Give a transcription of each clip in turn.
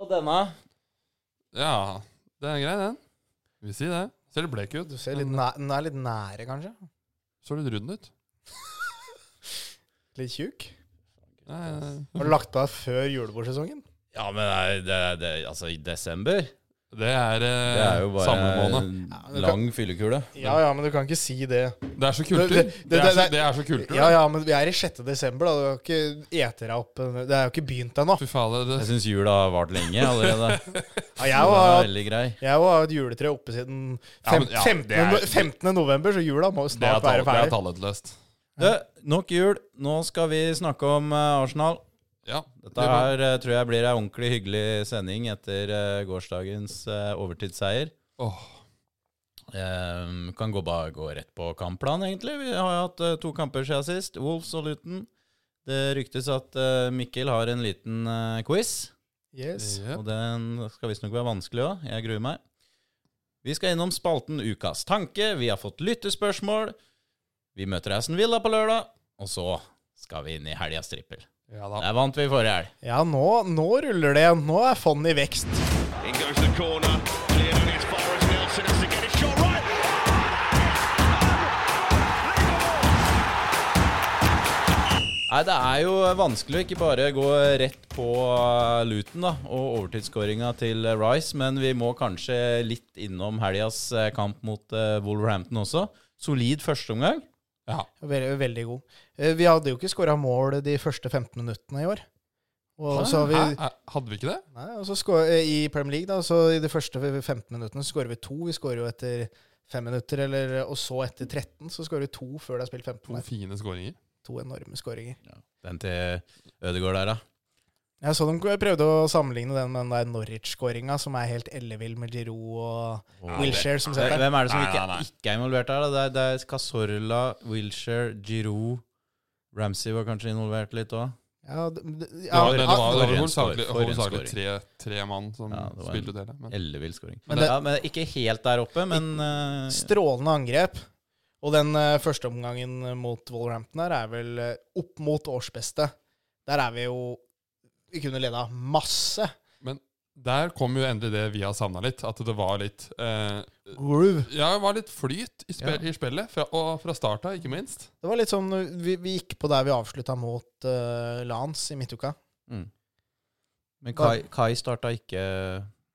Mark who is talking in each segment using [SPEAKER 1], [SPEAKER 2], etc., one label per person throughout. [SPEAKER 1] Og denne
[SPEAKER 2] Ja, det er grei, den. Vi sier det. Ser litt blek ut.
[SPEAKER 3] Du ser litt næ den er litt nære, kanskje?
[SPEAKER 2] Så litt rund ut.
[SPEAKER 3] Litt tjukk?
[SPEAKER 2] Nei,
[SPEAKER 3] Har du lagt av før julebordsesongen?
[SPEAKER 1] Ja, men nei, det, det, altså, i desember
[SPEAKER 2] Det er, eh,
[SPEAKER 1] Det er jo bare
[SPEAKER 2] samme måned.
[SPEAKER 1] en lang fyllekule.
[SPEAKER 3] Ja ja, men du kan ikke si det.
[SPEAKER 2] Det er så kultur. Det,
[SPEAKER 3] Det- det-
[SPEAKER 2] er, så,
[SPEAKER 3] det-
[SPEAKER 2] det er så kultur.
[SPEAKER 3] Ja ja, men vi er i 6. desember, da. Du har ikke ete deg opp eh, Det er jo ikke begynt ennå.
[SPEAKER 2] Fy faen, det,
[SPEAKER 1] Jeg syns jula har vart lenge
[SPEAKER 3] Ja,
[SPEAKER 1] allerede.
[SPEAKER 3] jeg
[SPEAKER 1] Det
[SPEAKER 3] har
[SPEAKER 1] er
[SPEAKER 3] hatt
[SPEAKER 1] veldig grei.
[SPEAKER 3] jeg har hatt juletre oppe siden
[SPEAKER 2] Ja,
[SPEAKER 3] fem,
[SPEAKER 2] men ja,
[SPEAKER 3] 15,
[SPEAKER 2] det er-
[SPEAKER 3] no- 15. november, så jula må jo
[SPEAKER 2] det er,
[SPEAKER 3] snart
[SPEAKER 2] tall,
[SPEAKER 3] være
[SPEAKER 2] det er
[SPEAKER 3] ferdig.
[SPEAKER 2] talletløst.
[SPEAKER 1] Du, nok jul. Nå skal vi snakke om eh, Arsenal.
[SPEAKER 2] Ja.
[SPEAKER 1] Dette her eh, tror jeg blir ei ordentlig hyggelig sending etter eh, gårsdagens eh, overtidsseier.
[SPEAKER 2] Åh,
[SPEAKER 1] Eh, kan gå, bare gå rett på kampplan, egentlig. Vi har jo hatt eh, to kamper siden sist. Wolves og Luton. Det ryktes at eh, Mikkel har en liten eh, quiz,
[SPEAKER 3] Yes.
[SPEAKER 2] ja.
[SPEAKER 1] og den skal visstnok være vanskelig òg. Jeg gruer meg. Vi skal innom spalten Ukas tanke. Vi har fått lyttespørsmål. Vi møter Aston Villa på lørdag. Og så skal vi inn i helgas trippel.
[SPEAKER 2] ja da.
[SPEAKER 1] Der vant vi forrige helg.
[SPEAKER 3] Ja, nå, nå ruller det igjen. Nå er fondet i vekst.
[SPEAKER 4] In goes the corner. Cleared on as far as Nelson has to get a shot right.
[SPEAKER 1] Nei, det er jo vanskelig å ikke bare gå rett på eh, Luton da, og overtidsskåringa til eh, Rice, men vi må kanskje litt innom helgas eh, kamp mot eh, Wolverhampton også. Solid førsteomgang.
[SPEAKER 2] Ja.
[SPEAKER 3] Veldig, veldig god. Eh, Vi hadde jo ikke skåra mål de første 15 minuttene i år. Og så har vi,
[SPEAKER 2] Hæ? Hæ? Hadde vi ikke det?
[SPEAKER 3] nei, og så skå- eh, I Premier League, da, så i de første 15 minuttene så skårer vi to. Vi skårer jo etter fem minutter, eller, og så etter 13, så skårer vi to før det er spilt 15.
[SPEAKER 2] To
[SPEAKER 3] Nei,
[SPEAKER 2] fine skåringer.
[SPEAKER 3] to enorme skåringer.
[SPEAKER 1] Den til Ødegaard der, da.
[SPEAKER 3] Jeg så de prøvde å sammenligne den med den der Norwich-skåringa, som er helt ellevill med Giroud og Wilshere som setter den.
[SPEAKER 1] Hvem er det
[SPEAKER 2] Nei,
[SPEAKER 1] som ikke,
[SPEAKER 2] nei, nei.
[SPEAKER 1] ikke er involvert her? da? Det er, det er Casorla, Wilshere, Giroud Ramsey var kanskje involvert litt òg.
[SPEAKER 3] Ja, d- d-
[SPEAKER 2] Det var,
[SPEAKER 3] ja,
[SPEAKER 2] det, det
[SPEAKER 3] ja,
[SPEAKER 2] var, det
[SPEAKER 1] for
[SPEAKER 2] var
[SPEAKER 1] en
[SPEAKER 2] hovedsakelig
[SPEAKER 1] skåring, for en
[SPEAKER 2] hovedsakelig
[SPEAKER 1] skåring.
[SPEAKER 2] tre, tre mann som
[SPEAKER 1] Ja, det var en-
[SPEAKER 2] spilte ut hele. Men
[SPEAKER 1] Ellevill skåring.
[SPEAKER 3] Men det-
[SPEAKER 1] ja, men ikke helt der oppe, men eh,
[SPEAKER 3] Strålende angrep. Og den eh, første omgangen mot Wolverhampton her er vel eh, opp mot årsbeste. Der er vi jo Vi kunne leda masse.
[SPEAKER 2] der kom jo endelig det vi har savna litt. At det var litt eh,
[SPEAKER 3] Groove.
[SPEAKER 2] Ja, det var litt flyt i, spe, i spillet, fra, og fra starta, ikke minst.
[SPEAKER 3] Det var litt sånn Vi, vi gikk på der vi avslutta mot eh, Lance i midtuka.
[SPEAKER 1] mm. Men Kai, Kai starta ikke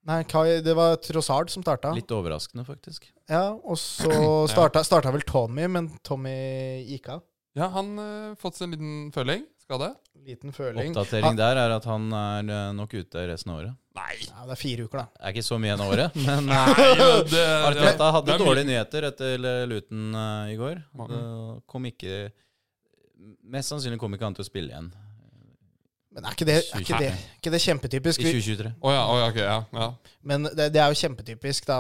[SPEAKER 3] Nei, Kai, det var Trossard som starta.
[SPEAKER 1] Litt overraskende, faktisk.
[SPEAKER 3] Ja, og så starta, starta vel Tommy, men Tommy gikk av.
[SPEAKER 2] Ja, han eh, fått seg en liten føling. Skade.
[SPEAKER 3] Liten føling.
[SPEAKER 1] Oppdatering der er at han er eh, nok ute resten av året.
[SPEAKER 2] Nei!
[SPEAKER 3] Ja, det er fire uker, da.
[SPEAKER 1] Det er ikke så mye enn året, men eh,
[SPEAKER 2] Nei men det,
[SPEAKER 1] Arteta
[SPEAKER 2] det er
[SPEAKER 1] hadde
[SPEAKER 2] mye-
[SPEAKER 1] dårlige nyheter etter eh, Luton eh, i går. Det kom ikke Mest sannsynlig kom ikke han til å spille igjen
[SPEAKER 3] Men er ikke det, er ikke det, ikke det kjempetypisk?
[SPEAKER 1] i
[SPEAKER 3] Vi,
[SPEAKER 1] 2023.
[SPEAKER 2] Å ja, å ja, ok, ja, ja.
[SPEAKER 3] Men det, det er jo kjempetypisk, da.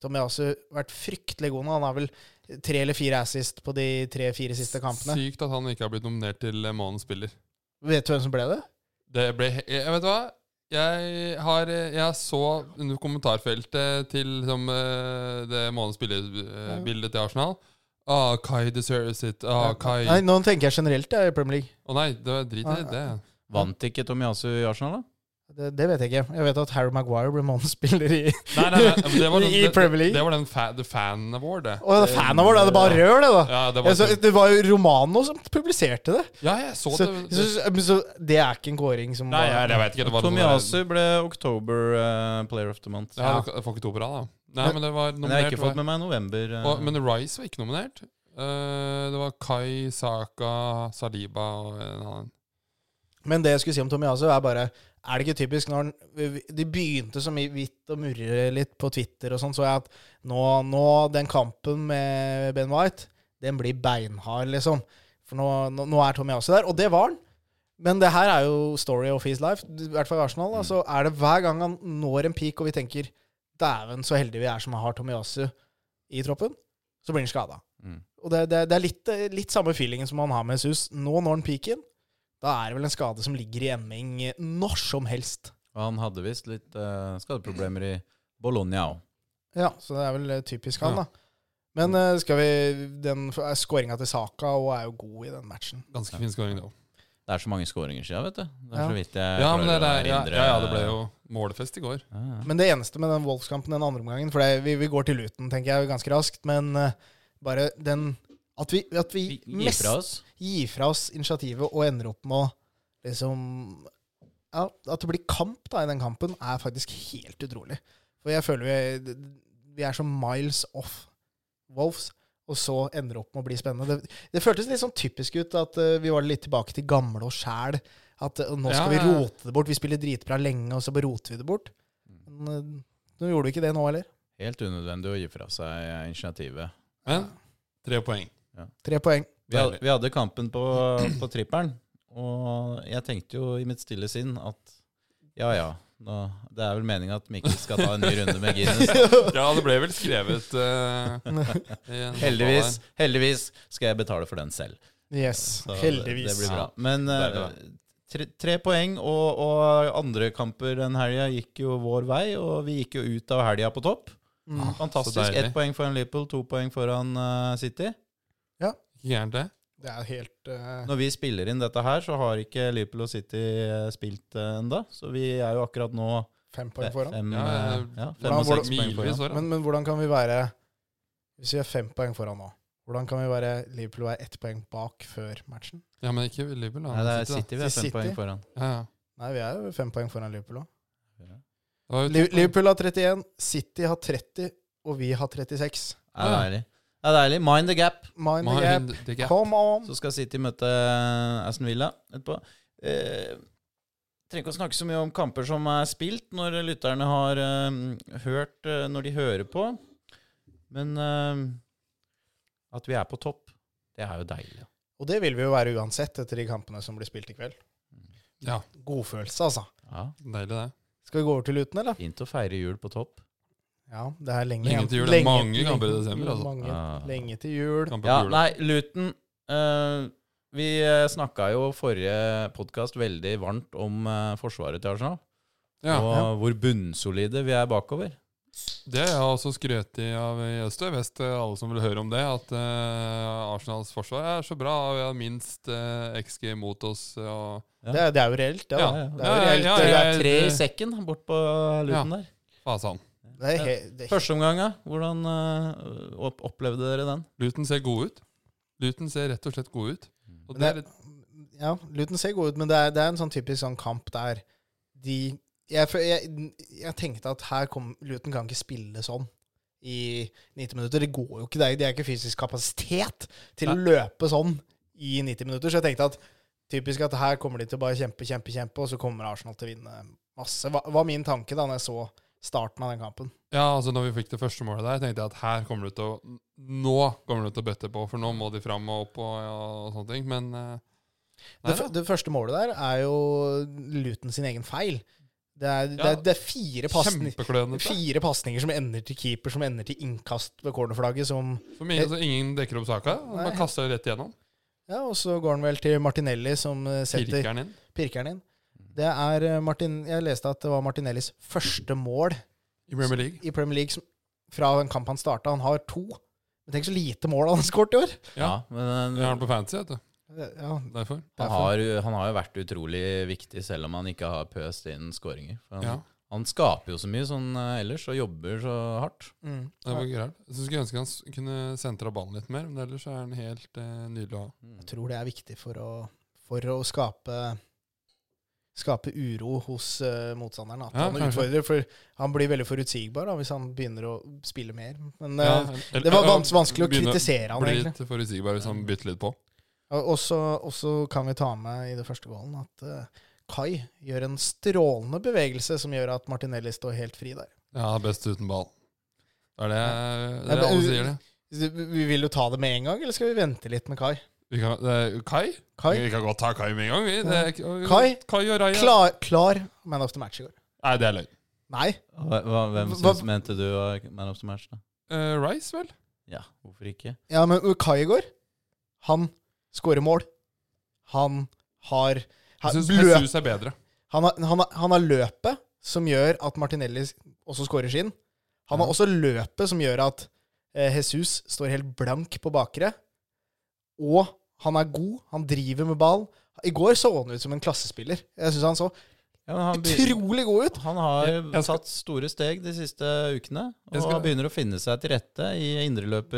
[SPEAKER 3] Tommy har også vært fryktelig god nå. Han har vel tre eller fire assist på de tre-fire siste kampene.
[SPEAKER 2] Sykt at han ikke har blitt nominert til eh, månedens spiller.
[SPEAKER 3] Vet du hvem som ble det?
[SPEAKER 2] Det ble he- Jeg vet hva? Jeg, har, eh, jeg så under kommentarfeltet til liksom, eh, det månedens spiller-bildet til Arsenal. Ah, Kai deserves it. Ah, Kai Å
[SPEAKER 3] Nei, Ah. Nå tenker jeg generelt jeg, i Premier League.
[SPEAKER 2] nei, det var drit i det.
[SPEAKER 1] Vant ikke Tomiyasu i Arsenal, da?
[SPEAKER 3] Det, det vet jeg ikke. Jeg vet at Harry Maguire ble månedsspiller i
[SPEAKER 2] Nei, nei, nei, det var den,
[SPEAKER 3] I Premier League?
[SPEAKER 2] Det, det var den fa, the fan award, det.
[SPEAKER 3] Og det er fan av vår, da. Det bare rør, det, da.
[SPEAKER 2] Ja, det
[SPEAKER 3] Jeg
[SPEAKER 2] var,
[SPEAKER 3] så, det var jo Romano som publiserte det.
[SPEAKER 2] ja, jeg så
[SPEAKER 3] Så,
[SPEAKER 2] det.
[SPEAKER 3] så, men så det er ikke en kåring som
[SPEAKER 2] nei, jeg, jeg vet ikke. Det var
[SPEAKER 1] Tomiyasu ble October eh, Player of the Month.
[SPEAKER 2] Ja, jeg får ikke to på rad, da. Nei, men det var
[SPEAKER 1] Men jeg har
[SPEAKER 2] nominert.
[SPEAKER 1] ikke fått med meg november. eh.
[SPEAKER 2] Og, men Rice var ikke nominert. Eh, det var Kai, Saka, Saliba og en annen.
[SPEAKER 3] Men det jeg skulle si om Tomiyasu, er bare Er det ikke typisk når han De begynte så mye vidt å murre litt på Twitter og sånn, så jeg at nå, nå Den kampen med Ben White, den blir beinhard, liksom. For nå, nå, nå er Tomiyasu der. Og det var han. Men det her er jo story of his life. I hvert fall i Arsenal. Da, så er det hver gang han når en peak, og vi tenker Dæven, så heldige vi er som har Tomiyasu i troppen. Så blir han skada.
[SPEAKER 1] Mm.
[SPEAKER 3] Og det, det, det er litt, litt samme feelingen som han har med Jesus. Nå når han peaken. Da er det vel en skade som ligger i emming når som helst.
[SPEAKER 1] Og han hadde visst litt eh, skadeproblemer i Bologna òg.
[SPEAKER 3] Ja, så det er vel eh, typisk han, da. Men eh, skal vi Den skåringa til Saka og er jo god i den matchen.
[SPEAKER 2] Ganske fin skåring, det òg.
[SPEAKER 1] Det er så mange skåringer siden, vet du. Det er
[SPEAKER 3] Ja.
[SPEAKER 1] så vidt jeg
[SPEAKER 2] Ja, men det,
[SPEAKER 1] klarer å
[SPEAKER 2] er- ja,
[SPEAKER 1] erindre.
[SPEAKER 2] ja, ja, det ble jo målfest i går.
[SPEAKER 1] Ja, ja.
[SPEAKER 3] Men det eneste med den Wolfskampen den andre omgangen For det, vi, vi går til Luton, tenker jeg, ganske raskt. Men eh, bare den At vi, at vi,
[SPEAKER 1] Vi gir
[SPEAKER 3] mest
[SPEAKER 1] fra oss.
[SPEAKER 3] gir fra oss initiativet og ender opp med å liksom ja, At det blir kamp da i den kampen, er faktisk helt utrolig. For jeg føler vi, vi er så miles off Wolves, og så ender det opp med å bli spennende. Det, det føltes litt sånn typisk ut at eh, vi var litt tilbake til gamle og sjæl. At eh, nå skal
[SPEAKER 2] Ja,
[SPEAKER 3] vi
[SPEAKER 2] ja.
[SPEAKER 3] rote det bort. Vi spiller dritbra lenge, og så bare roter vi det bort. Men eh, nå gjorde vi ikke det nå heller.
[SPEAKER 1] Helt unødvendig å gi fra seg eh, initiativet.
[SPEAKER 2] Men tre poeng.
[SPEAKER 3] Tre poeng.
[SPEAKER 1] Vi hadde,
[SPEAKER 2] Deilig.
[SPEAKER 1] vi hadde kampen på, på trippelen, og jeg tenkte jo i mitt stille sinn at ja, ja. Nå, det er vel meninga at Mikkel skal ta en ny runde med Guinness.
[SPEAKER 2] Ja, det ble vel skrevet eh, i en
[SPEAKER 1] Heldigvis, heldigvis skal jeg betale for den selv.
[SPEAKER 3] Yes.
[SPEAKER 1] Så det-
[SPEAKER 3] Heldigvis.
[SPEAKER 1] Det blir bra. Men
[SPEAKER 2] det er
[SPEAKER 1] eh, tre, tre poeng, og, og andre kamper den helga gikk jo vår vei, og vi gikk jo ut av helga på topp.
[SPEAKER 3] Mm.
[SPEAKER 1] Fantastisk.
[SPEAKER 2] så deilig.
[SPEAKER 1] Ett poeng foran Liverpool, to poeng foran eh, City.
[SPEAKER 2] Ikke Gærent, det.
[SPEAKER 3] Det er helt eh,
[SPEAKER 1] Når vi spiller inn dette her, så har ikke Liverpool og City eh, spilt uh, enda, så vi er jo akkurat nå
[SPEAKER 3] fem
[SPEAKER 1] fe-
[SPEAKER 3] poeng foran.
[SPEAKER 1] fem,
[SPEAKER 2] Ja, ja,
[SPEAKER 1] eh, ja, fem
[SPEAKER 3] hvordan-
[SPEAKER 1] og seks poeng
[SPEAKER 2] hvordan-
[SPEAKER 1] foran.
[SPEAKER 2] Milevis.
[SPEAKER 3] Men, men hvordan kan vi være Hvis vi er fem poeng foran nå, hvordan kan vi være Liverpool være ett poeng bak før matchen?
[SPEAKER 2] Ja, men ikke Liverpool. da.
[SPEAKER 1] Nei, det er
[SPEAKER 2] City, da.
[SPEAKER 1] City vi er fem
[SPEAKER 3] City.
[SPEAKER 1] poeng foran.
[SPEAKER 2] Ja, ja.
[SPEAKER 3] Nei, vi er jo fem poeng foran Liverpool òg.
[SPEAKER 2] Det var jo to poeng.
[SPEAKER 3] Liverpool har 31, City har 30, og vi har 36.
[SPEAKER 1] Det er deilig. Det er deilig. Mind the gap.
[SPEAKER 3] Mind the gap.
[SPEAKER 2] Mind the gap.
[SPEAKER 3] Come on!
[SPEAKER 1] Så skal City møte Aston Villa etterpå. Eh, trenger ikke å snakke så mye om kamper som er spilt, når lytterne har eh, hørt eh, når de hører på. Men eh, at vi er på topp, det er jo deilig.
[SPEAKER 3] Og det vil vi jo være uansett etter de kampene som blir spilt i kveld.
[SPEAKER 2] Ja,
[SPEAKER 3] Godfølelse, altså.
[SPEAKER 1] Ja,
[SPEAKER 2] deilig det.
[SPEAKER 3] Skal vi gå over til Luton, eller?
[SPEAKER 1] Fint å feire jul på topp.
[SPEAKER 3] Ja, det er lenge
[SPEAKER 2] Lenge
[SPEAKER 3] igjen.
[SPEAKER 2] til jul. Det er mange kamper i desember, altså.
[SPEAKER 3] Mange.
[SPEAKER 1] Ja.
[SPEAKER 3] Lenge til jul.
[SPEAKER 2] Kampen på
[SPEAKER 1] Ja,
[SPEAKER 2] jula.
[SPEAKER 1] nei, Luton eh, Vi eh, snakka jo forrige podkast veldig varmt om eh, forsvaret til Arsenal,
[SPEAKER 2] Ja,
[SPEAKER 1] og hvor bunnsolide vi er bakover.
[SPEAKER 2] Det har jeg også skrøt i av i øst og vest, eh, alle som vil høre om det, at eh, Arsenals forsvar er så bra. og Vi har minst eh, XG mot oss. eh, og
[SPEAKER 1] Ja.
[SPEAKER 3] Det er, det er jo reelt, det.
[SPEAKER 2] Ja,
[SPEAKER 3] da.
[SPEAKER 1] ja,
[SPEAKER 3] Det er jo
[SPEAKER 2] ja,
[SPEAKER 3] reelt.
[SPEAKER 2] ja,
[SPEAKER 3] det
[SPEAKER 1] Det
[SPEAKER 2] ja,
[SPEAKER 3] er-
[SPEAKER 1] er tre i sekken bort på Luton der.
[SPEAKER 2] Fasan.
[SPEAKER 3] Det er, he- det er
[SPEAKER 1] Første omgang, ja. Hvordan eh, opp opplevde dere den?
[SPEAKER 2] Luton ser god ut. Luton ser rett og slett god ut. Og det
[SPEAKER 3] Men
[SPEAKER 2] er
[SPEAKER 3] det-
[SPEAKER 2] litt,
[SPEAKER 3] Ja, Luton ser god ut, men det er, det er en sånn typisk sånn kamp der de Jeg, fø- jeg, jeg tenkte at her kom Luton kan ikke spille sånn i 90 minutter. Det går jo ikke. Det er, de har ikke fysisk kapasitet til å løpe sånn i 90 minutter. Så jeg tenkte at typisk at her kommer de til å bare kjempe, kjempe, kjempe, og så kommer Arsenal til å vinne masse. Hva var min tanke da når jeg så starten av den kampen?
[SPEAKER 2] ja, altså når vi fikk det første målet der, tenkte jeg at her kommer det til å Nå kommer det til å bøtte på, for nå må de fram og opp og, ja, og sånne ting. Men eh,
[SPEAKER 3] Det,
[SPEAKER 2] nei,
[SPEAKER 3] f-
[SPEAKER 2] da.
[SPEAKER 3] det første målet der er jo Luton sin egen feil. Det er, det
[SPEAKER 2] Ja.
[SPEAKER 3] er, det er fire pasninger
[SPEAKER 2] kjempeklønete.
[SPEAKER 3] Fire pasninger som ender til keeper, som ender til innkast ved cornerflagget. Som,
[SPEAKER 2] Som ingen, så ingen dekker opp saka.
[SPEAKER 3] Nei.
[SPEAKER 2] Man kaster det rett igjennom.
[SPEAKER 3] ja, og så går han vel til Martinelli, som eh, setter
[SPEAKER 2] Pirker
[SPEAKER 3] pirkeren,
[SPEAKER 2] den inn.
[SPEAKER 3] inn.
[SPEAKER 1] Mm.
[SPEAKER 3] Det er eh, Martin, Jeg leste at det var Martinellis første mål
[SPEAKER 2] I Premier League.
[SPEAKER 3] i Premier League som, fra den kampen han starta. Han har to. Men tenk så lite mål han har skåret i år!
[SPEAKER 2] Ja.
[SPEAKER 1] men
[SPEAKER 2] Vi
[SPEAKER 1] eh,
[SPEAKER 2] har den på fantasy, vet du.
[SPEAKER 3] Ja,
[SPEAKER 2] Derfor.
[SPEAKER 1] han,
[SPEAKER 3] derfor.
[SPEAKER 1] har, han har jo vært utrolig viktig, selv om han ikke har pøst inn skåringer. For Han,
[SPEAKER 2] Ja.
[SPEAKER 1] han skaper jo så mye sånn eh, ellers, og jobber så hardt.
[SPEAKER 3] Mm.
[SPEAKER 2] Det var gøyalt. Jeg skulle ønske han s- kunne sentra ballen litt mer, men ellers er han helt eh, nydelig å ha.
[SPEAKER 3] Jeg tror det er viktig for å, for å skape Skape uro hos eh, motstanderen. At
[SPEAKER 2] Ja,
[SPEAKER 3] han
[SPEAKER 2] kanskje.
[SPEAKER 3] utfordrer, for han blir veldig forutsigbar da, hvis han begynner å spille mer. Men
[SPEAKER 2] Ja,
[SPEAKER 3] eh,
[SPEAKER 2] eller-
[SPEAKER 3] Det var
[SPEAKER 2] ja,
[SPEAKER 3] vans vanskelig å
[SPEAKER 2] begynne-
[SPEAKER 3] kritisere han,
[SPEAKER 2] Bli
[SPEAKER 3] egentlig.
[SPEAKER 2] litt forutsigbar hvis han bytter litt på.
[SPEAKER 3] Og så og så kan vi ta med i det første gålen at eh, Kai gjør en strålende bevegelse som gjør at Martinelli står helt fri der.
[SPEAKER 2] Ja, best uten ball. Det er det, det,
[SPEAKER 3] Ja,
[SPEAKER 2] er
[SPEAKER 3] men-
[SPEAKER 2] det alle sier, det.
[SPEAKER 3] Vi vil jo ta det med en gang, eller skal vi vente litt med Kai?
[SPEAKER 2] Vi kan, det er Kai?
[SPEAKER 3] Kai,
[SPEAKER 2] Vi kan godt ta Kai med en gang. Vi. Det er,
[SPEAKER 3] Kai?
[SPEAKER 2] og Raja.
[SPEAKER 3] klar, klar man of the match i går.
[SPEAKER 2] Nei, det er løgn.
[SPEAKER 3] Nei,
[SPEAKER 1] Hva, hva- hvem
[SPEAKER 3] Hva-
[SPEAKER 1] syns, mente du var man of the match, da?
[SPEAKER 2] Eh, Rice, vel?
[SPEAKER 1] Ja, hvorfor ikke?
[SPEAKER 3] ja, men Kai i går, han skårer mål. Han har
[SPEAKER 2] Jeg
[SPEAKER 3] han,
[SPEAKER 2] syns
[SPEAKER 3] løp,
[SPEAKER 2] Jesus er bedre.
[SPEAKER 3] han, har, han, har, han har løpet som gjør at Martinelli også skårer sin. Han har
[SPEAKER 1] Ja.
[SPEAKER 3] også løpet som gjør at eh, Jesus står helt blank på bakre. Og han er god. Han driver med ball. I går så han ut som en klassespiller. Jeg syns han så
[SPEAKER 1] Ja, men han, begyn-
[SPEAKER 3] utrolig god ut.
[SPEAKER 1] han har
[SPEAKER 2] jeg skal-
[SPEAKER 1] tatt store steg de siste ukene,
[SPEAKER 2] Jeg
[SPEAKER 1] og
[SPEAKER 2] skal-
[SPEAKER 1] begynner å finne seg til rette i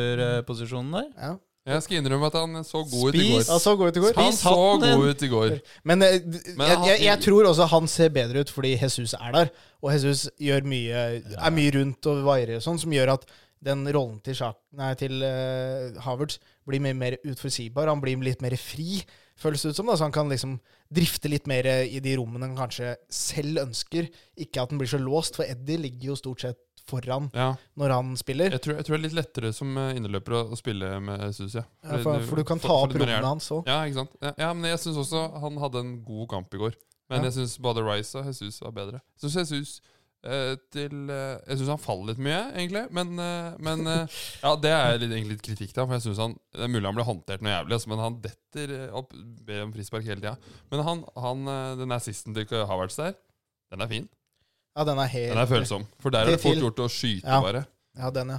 [SPEAKER 1] indreløperposisjonen der.
[SPEAKER 3] Ja.
[SPEAKER 2] Jeg skal innrømme at han så god ut i
[SPEAKER 1] Spis-
[SPEAKER 2] går.
[SPEAKER 3] Han så god ut i går.
[SPEAKER 2] Han
[SPEAKER 1] Spis
[SPEAKER 2] så
[SPEAKER 1] hatten din.
[SPEAKER 2] god ut i går.
[SPEAKER 3] Men, eh, d-
[SPEAKER 2] Men
[SPEAKER 3] jeg,
[SPEAKER 2] han-
[SPEAKER 3] jeg, jeg tror også han ser bedre ut fordi Jesus er der. Og Jesus gjør mye, er mye rundt og vaier og sånn, som gjør at den rollen til, Shark, nei, til eh, Havertz blir mye mer utforutsigbar. Han blir litt mer fri, føles det ut som. Da. Så han kan liksom drifte litt mer eh, i de rommene han kanskje selv ønsker. Ikke at han blir så låst, for Eddie ligger jo stort sett foran
[SPEAKER 2] Ja.
[SPEAKER 3] når han spiller.
[SPEAKER 2] Jeg tror, jeg tror det er litt lettere som eh, innerløper å, å spille med Jesus, ja.
[SPEAKER 3] Ja, For, for du kan ta
[SPEAKER 2] for-
[SPEAKER 3] opp
[SPEAKER 2] for
[SPEAKER 3] rommene
[SPEAKER 2] når jeg-
[SPEAKER 3] hans òg.
[SPEAKER 2] Ja, ikke sant. Ja, ja men jeg syns også han hadde en god kamp i går. Men
[SPEAKER 3] Ja.
[SPEAKER 2] jeg syns både Rice og Jesus var bedre. Jeg syns Jesus eh, til eh, Jeg syns han faller litt mye, egentlig. Men, eh, men eh, Ja, det er litt, egentlig litt kritikk, da. For jeg synes han Det er mulig han ble håndtert noe jævlig, altså, men han detter eh, opp, ber om frispark hele tida. Men han, han eh, den assisten til Havertz der, den er fin.
[SPEAKER 3] Ja, den er helt
[SPEAKER 2] Den er følsom. For der er det
[SPEAKER 3] Helt
[SPEAKER 2] fort gjort å skyte,
[SPEAKER 3] Ja.
[SPEAKER 2] bare.
[SPEAKER 3] Ja, den, ja.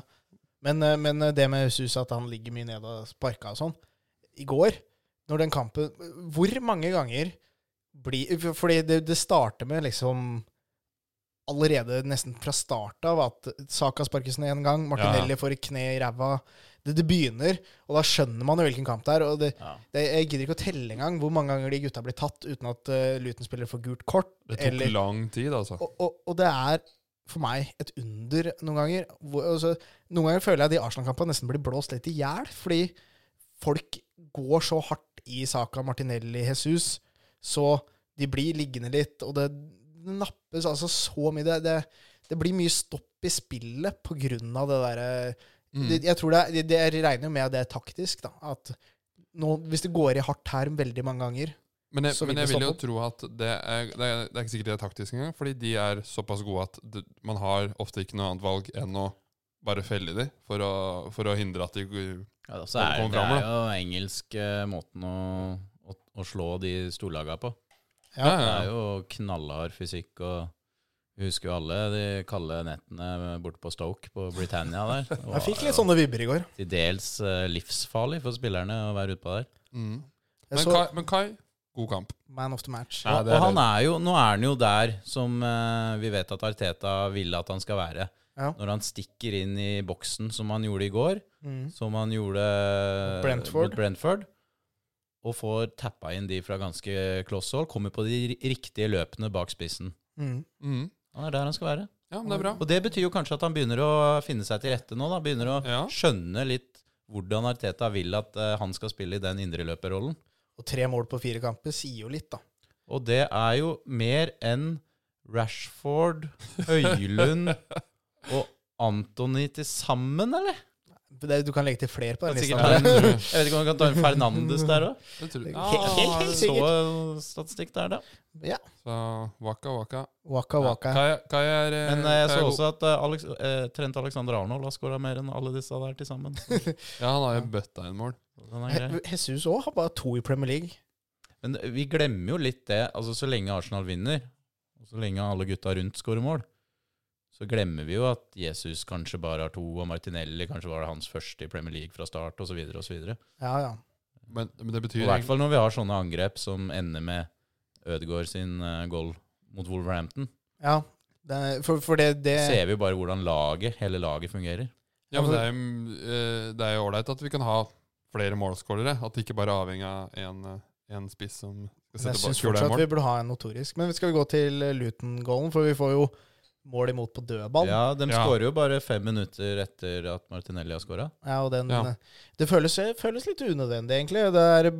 [SPEAKER 3] Men, eh, men eh, det med Jesus, at han ligger mye nede og sparker og sånn I går, når den kampen Hvor mange ganger blir for- Fordi det, det starter med liksom Allerede nesten fra start av at Saka sparkes ned en gang, Martinelli får et kne i ræva det, det begynner, og da skjønner man jo hvilken kamp det er. Og det,
[SPEAKER 1] Ja.
[SPEAKER 3] det, jeg gidder ikke å telle engang hvor mange ganger de gutta blir tatt uten at eh, Luton spiller for gult kort.
[SPEAKER 2] Det tok lang tid, altså.
[SPEAKER 3] Og, og, og det er for meg et under noen ganger. Hvor, altså, noen ganger føler jeg de Arsenal-kampene nesten blir blåst litt i hjel, fordi folk går så hardt i saka Martinelli Jesus, så de blir liggende litt, og det nappes altså så mye. Det, det, det blir mye stopp i spillet på grunn av det derre
[SPEAKER 2] Mm.
[SPEAKER 3] det, Jeg tror det, er- det, det jeg regner jo med at det er taktisk, da. At nå, hvis det går i hardt her veldig mange ganger
[SPEAKER 2] Men jeg,
[SPEAKER 3] så vil
[SPEAKER 2] men
[SPEAKER 3] det
[SPEAKER 2] jeg vil
[SPEAKER 3] stoppe
[SPEAKER 2] jo
[SPEAKER 3] opp.
[SPEAKER 2] tro at det er, det, er, det er ikke sikkert det er taktisk engang, fordi de er såpass gode at det, man har ofte ikke noe annet valg enn å bare felle de for å, for å hindre at de
[SPEAKER 1] Ja, da, så er,
[SPEAKER 2] Kommer
[SPEAKER 1] det
[SPEAKER 2] fram,
[SPEAKER 1] er jo engelsk eh, måten å, å, å slå de storlaga på.
[SPEAKER 2] Ja, ja,
[SPEAKER 1] Det er
[SPEAKER 2] ja.
[SPEAKER 1] jo knallhard fysikk og vi husker jo alle de kalde nettene borte på Stoke på Britannia der. Det var
[SPEAKER 3] Jeg fikk litt
[SPEAKER 2] sånn-
[SPEAKER 1] jo
[SPEAKER 3] sånne vibber i går.
[SPEAKER 1] Til dels eh, livsfarlig for spillerne å være utpå der.
[SPEAKER 2] Mm.
[SPEAKER 3] Jeg
[SPEAKER 2] Men,
[SPEAKER 3] så
[SPEAKER 2] Kai, men Kai, god kamp.
[SPEAKER 3] Man of the match.
[SPEAKER 2] Ja,
[SPEAKER 1] og
[SPEAKER 2] det er
[SPEAKER 1] og han er jo, nå er han jo der som eh, vi vet at Arteta ville at han skal være.
[SPEAKER 3] Ja.
[SPEAKER 1] Når han stikker inn i boksen som han gjorde i går,
[SPEAKER 3] Mm.
[SPEAKER 1] som han gjorde
[SPEAKER 3] Mot Brentford.
[SPEAKER 1] mot Brentford og får tappa inn de fra ganske klosshold. Kommer på de ri- riktige løpene bak spissen.
[SPEAKER 3] Mm.
[SPEAKER 2] Mm.
[SPEAKER 1] Han er der han skal være.
[SPEAKER 2] Ja, men det er bra.
[SPEAKER 1] Og det betyr jo kanskje at han begynner å finne seg til rette nå. da, Begynner å
[SPEAKER 2] Ja.
[SPEAKER 1] skjønne litt hvordan Arteta vil at eh, han skal spille i den indreløperrollen.
[SPEAKER 3] Og tre mål på fire kamper sier jo litt, da.
[SPEAKER 1] Og det er jo mer enn Rashford, Høylund og Anthony til sammen, eller?
[SPEAKER 3] Det, du kan legge til flere på den lista.
[SPEAKER 1] Jeg vet
[SPEAKER 3] der.
[SPEAKER 1] ikke om vi kan ta en Fernandes der òg.
[SPEAKER 2] Det tror jeg.
[SPEAKER 3] Helt- helt
[SPEAKER 1] Ah.
[SPEAKER 2] Ja,
[SPEAKER 3] sikkert.
[SPEAKER 1] Så eh, statistikk der, da.
[SPEAKER 3] Ja.
[SPEAKER 2] så waka, waka.
[SPEAKER 3] Waka waka.
[SPEAKER 2] Kai, Kai er eh,
[SPEAKER 1] Men eh, jeg
[SPEAKER 2] Kai
[SPEAKER 1] så
[SPEAKER 2] er god.
[SPEAKER 1] også at eh, Alex, eh, Trent Alexander Arnold har skåra mer enn alle disse der til sammen. Så
[SPEAKER 2] Ja, han har jo bøtta inn mål.
[SPEAKER 1] Den er grei.
[SPEAKER 3] He- Jesus òg har bare to i Premier League.
[SPEAKER 1] Men eh, vi glemmer jo litt det. Altså Så lenge Arsenal vinner, og så lenge alle gutta rundt skårer mål, så glemmer vi jo at Jesus kanskje bare har to, og Martinelli kanskje var det hans første i Premier League fra start, osv. I
[SPEAKER 3] Ja, ja.
[SPEAKER 2] Men, men det betyr
[SPEAKER 1] hvert fall når vi har sånne angrep som ender med Ødegaard sin eh, goal mot Wolverhampton.
[SPEAKER 3] ja. Det, er- for, for det, det
[SPEAKER 2] Eh.
[SPEAKER 1] Så ser vi jo bare hvordan laget, hele laget fungerer.
[SPEAKER 2] Ja,
[SPEAKER 3] Altså-
[SPEAKER 2] men det er jo, eh, det er jo ålreit at vi kan ha flere målskålere. At det ikke bare er avhengig av en, eh, en spiss som skal
[SPEAKER 3] Jeg
[SPEAKER 2] sette bak
[SPEAKER 3] syns
[SPEAKER 2] kula i
[SPEAKER 3] fortsatt
[SPEAKER 2] mål.
[SPEAKER 3] vi burde ha en notorisk. Men skal vi gå til eh, Luton-goalen? For vi får jo mål imot på dødball. Ja.
[SPEAKER 1] Ja, De
[SPEAKER 2] Ja.
[SPEAKER 1] skårer jo bare fem minutter etter at Martinelli har skåra.
[SPEAKER 3] og den,
[SPEAKER 2] Ja.
[SPEAKER 3] eh, Det føles, eh, føles litt unødvendig, egentlig. Det er,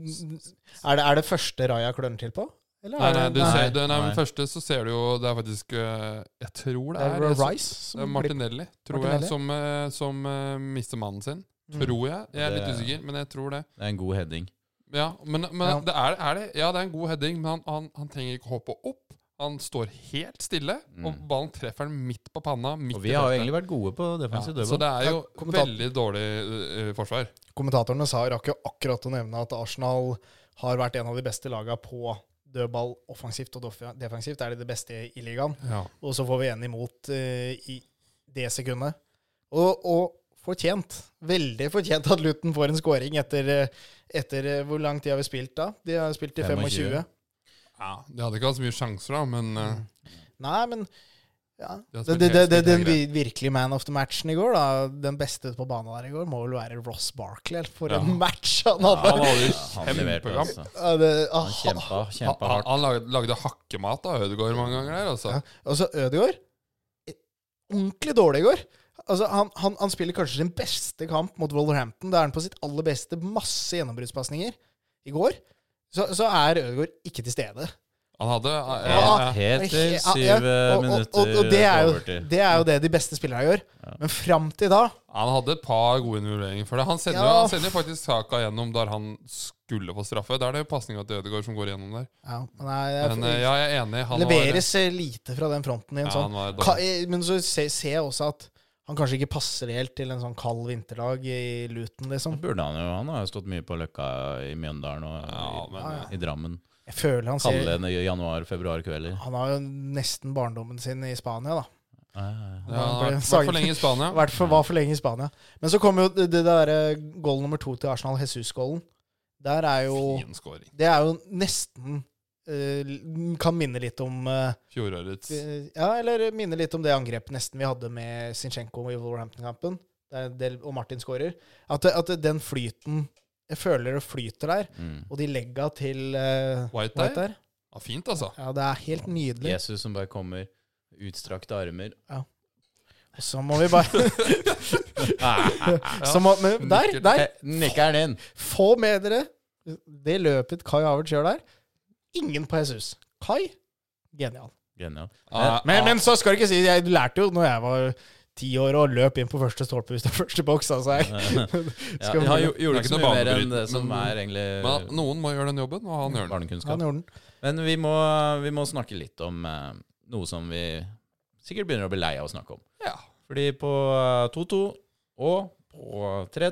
[SPEAKER 3] er, det, er det første Raja kløner til på? Eller
[SPEAKER 2] Nei,
[SPEAKER 3] er
[SPEAKER 2] nei,
[SPEAKER 3] det-
[SPEAKER 2] du ser, det, nei,
[SPEAKER 1] nei.
[SPEAKER 2] men først så ser du jo Det er faktisk eh, Jeg tror det
[SPEAKER 3] det
[SPEAKER 2] er,
[SPEAKER 3] er
[SPEAKER 2] jeg så-
[SPEAKER 3] Rice
[SPEAKER 2] det er
[SPEAKER 3] som klipper-
[SPEAKER 2] Martinelli, tror
[SPEAKER 3] Martinelli? Mm.
[SPEAKER 2] jeg, som, eh, som eh, mister mannen sin. Tror jeg. Jeg er
[SPEAKER 1] Det-
[SPEAKER 2] litt usikker, men jeg tror det.
[SPEAKER 1] Det er en god heading.
[SPEAKER 2] Ja, men, men
[SPEAKER 3] Ja.
[SPEAKER 2] Det er, er det. Ja, det er en god heading, men han, han, han trenger ikke hoppe opp. Han står helt stille, og
[SPEAKER 1] Mm.
[SPEAKER 2] ballen treffer han midt på panna. Midt
[SPEAKER 1] Og
[SPEAKER 2] i
[SPEAKER 1] vi har jo
[SPEAKER 2] feltet.
[SPEAKER 1] egentlig vært gode på
[SPEAKER 2] ja,
[SPEAKER 1] defensiv
[SPEAKER 2] Så
[SPEAKER 1] dødball.
[SPEAKER 2] det er jo
[SPEAKER 3] Ja, kommentat-
[SPEAKER 2] veldig dårlig eh, forsvar.
[SPEAKER 3] Kommentatorene sa, rakk jo akkurat å nevne at Arsenal har vært en av de beste laga på dødball offensivt og doff- defensivt. Er de det beste i ligaen?
[SPEAKER 2] Ja.
[SPEAKER 3] Og så får vi en imot eh, i det sekundet. Og, og fortjent. Veldig fortjent at Luton får en scoring etter, eh, etter eh, Hvor lang tid har vi spilt da? De har spilt i 25.
[SPEAKER 1] 25.
[SPEAKER 2] Ja, De hadde ikke hatt så mye sjanser, da, men eh,
[SPEAKER 3] Nei, men ja.
[SPEAKER 2] De har
[SPEAKER 3] Mm. det,
[SPEAKER 2] spilt
[SPEAKER 3] det,
[SPEAKER 2] helt
[SPEAKER 3] det, det,
[SPEAKER 2] spilt,
[SPEAKER 3] Den
[SPEAKER 2] det er greit.
[SPEAKER 3] vi- virkelig man of the matchen i går, da, den beste ute på banen der i går, må vel være Ross Barkley. For
[SPEAKER 2] Ja.
[SPEAKER 3] en match han
[SPEAKER 2] han
[SPEAKER 3] hadde!
[SPEAKER 2] hadde jo
[SPEAKER 1] Han leverte,
[SPEAKER 2] kjempekamp.
[SPEAKER 1] altså.
[SPEAKER 3] Ja, det- ah,
[SPEAKER 1] Han kjempa,
[SPEAKER 2] Han,
[SPEAKER 1] kjempa
[SPEAKER 2] han,
[SPEAKER 1] hardt.
[SPEAKER 2] han lagde, lagde hakkemat av Ødegaard mange ganger der, altså.
[SPEAKER 3] Ja. Og så Ødegaard. eh, Ordentlig dårlig i går. Altså, han, han, han spiller kanskje sin beste kamp mot Wolverhampton. Da er han på sitt aller beste. Masse gjennombruddspasninger i går. Så, så er Ødegaard ikke til stede.
[SPEAKER 2] Han hadde eh,
[SPEAKER 3] Ja.
[SPEAKER 2] eh,
[SPEAKER 1] Helt til
[SPEAKER 3] Ja, ja,
[SPEAKER 1] syv eh,
[SPEAKER 3] og- og-
[SPEAKER 1] minutter
[SPEAKER 3] Og, og det, er jo,
[SPEAKER 1] overtid.
[SPEAKER 3] det er jo det de beste spillerne gjør. Men fram til da
[SPEAKER 2] Han hadde et par gode involveringer for det. Han sender,
[SPEAKER 3] Ja.
[SPEAKER 2] han sender faktisk saka gjennom der han skulle få straffe. Der er det pasninga til Ødegaard som går gjennom der.
[SPEAKER 3] ja, Nei, jeg,
[SPEAKER 2] Men eh, ja, jeg er enig. Han
[SPEAKER 3] leveres lite fra den fronten i en
[SPEAKER 2] Ja, han
[SPEAKER 3] sånn
[SPEAKER 2] var
[SPEAKER 3] Ka,
[SPEAKER 2] dårlig.
[SPEAKER 3] eh, Men så se- ser jeg også at han kanskje ikke passer helt til en sånn kald vinterdag i Luton, liksom.
[SPEAKER 1] Burde han jo. Han har jo stått mye på Løkka i Mjøndalen
[SPEAKER 2] Ja,
[SPEAKER 1] og
[SPEAKER 2] men
[SPEAKER 3] Ja, ja.
[SPEAKER 1] i, i Drammen.
[SPEAKER 3] Jeg føler han ser
[SPEAKER 1] Kalde januar-februar-kvelder.
[SPEAKER 3] Han har jo nesten barndommen sin i Spania, da.
[SPEAKER 2] ja, han har
[SPEAKER 3] ble
[SPEAKER 2] vært
[SPEAKER 3] saget-
[SPEAKER 2] for lenge i Spania.
[SPEAKER 3] I hvert fall var for lenge i Spania. Men så kommer jo det det derre goal nummer to til Arsenal, Jesus-goalen. Der er jo
[SPEAKER 2] Fin scoring.
[SPEAKER 3] Det er jo nesten eh, Kan minne litt om eh,
[SPEAKER 2] Fjorårets.
[SPEAKER 3] Ja, eller minner litt om det angrepet nesten vi hadde med Zinchenko i Wolverhampton-kampen, der en del- og Martin skårer. At, det- at det- den flyten Jeg føler det flyter der,
[SPEAKER 1] Mm.
[SPEAKER 3] og de legga til eh,
[SPEAKER 2] White
[SPEAKER 3] White
[SPEAKER 2] Dye?
[SPEAKER 3] der.
[SPEAKER 2] Ja, fint, altså.
[SPEAKER 3] Ja, det er helt nydelig.
[SPEAKER 1] Jesus som bare kommer. Utstrakte armer.
[SPEAKER 3] Og så må vi bare så må, men, Der!
[SPEAKER 2] Nikker-
[SPEAKER 3] der
[SPEAKER 1] Nikkeren inn!
[SPEAKER 3] Få med dere det løpet Kai Havertz gjør der. Ingen på Jesus. Kai genial.
[SPEAKER 1] Genial.
[SPEAKER 2] Ja,
[SPEAKER 3] Eh, Men,
[SPEAKER 2] ja.
[SPEAKER 3] men så skal du ikke si Jeg lærte jo når jeg var ti år og løp inn på første stolpe hvis det er første boks. Altså, jeg.
[SPEAKER 1] Ja,
[SPEAKER 3] Skal vi-
[SPEAKER 1] han gjo-
[SPEAKER 2] Det
[SPEAKER 1] gjorde
[SPEAKER 2] er
[SPEAKER 1] ikke så
[SPEAKER 2] ikke
[SPEAKER 1] mye
[SPEAKER 2] noe
[SPEAKER 1] mer enn det
[SPEAKER 2] banebrytende,
[SPEAKER 1] som
[SPEAKER 2] men-
[SPEAKER 1] er
[SPEAKER 2] Men
[SPEAKER 1] egentlig
[SPEAKER 2] noen må gjøre den jobben, og han gjør den.
[SPEAKER 1] barnekunnskap.
[SPEAKER 3] Han gjorde den.
[SPEAKER 1] Men vi må, vi må snakke litt om eh, noe som vi sikkert begynner å bli lei av å snakke om.
[SPEAKER 2] Ja.
[SPEAKER 1] Fordi på eh, 2-2 og på 3-2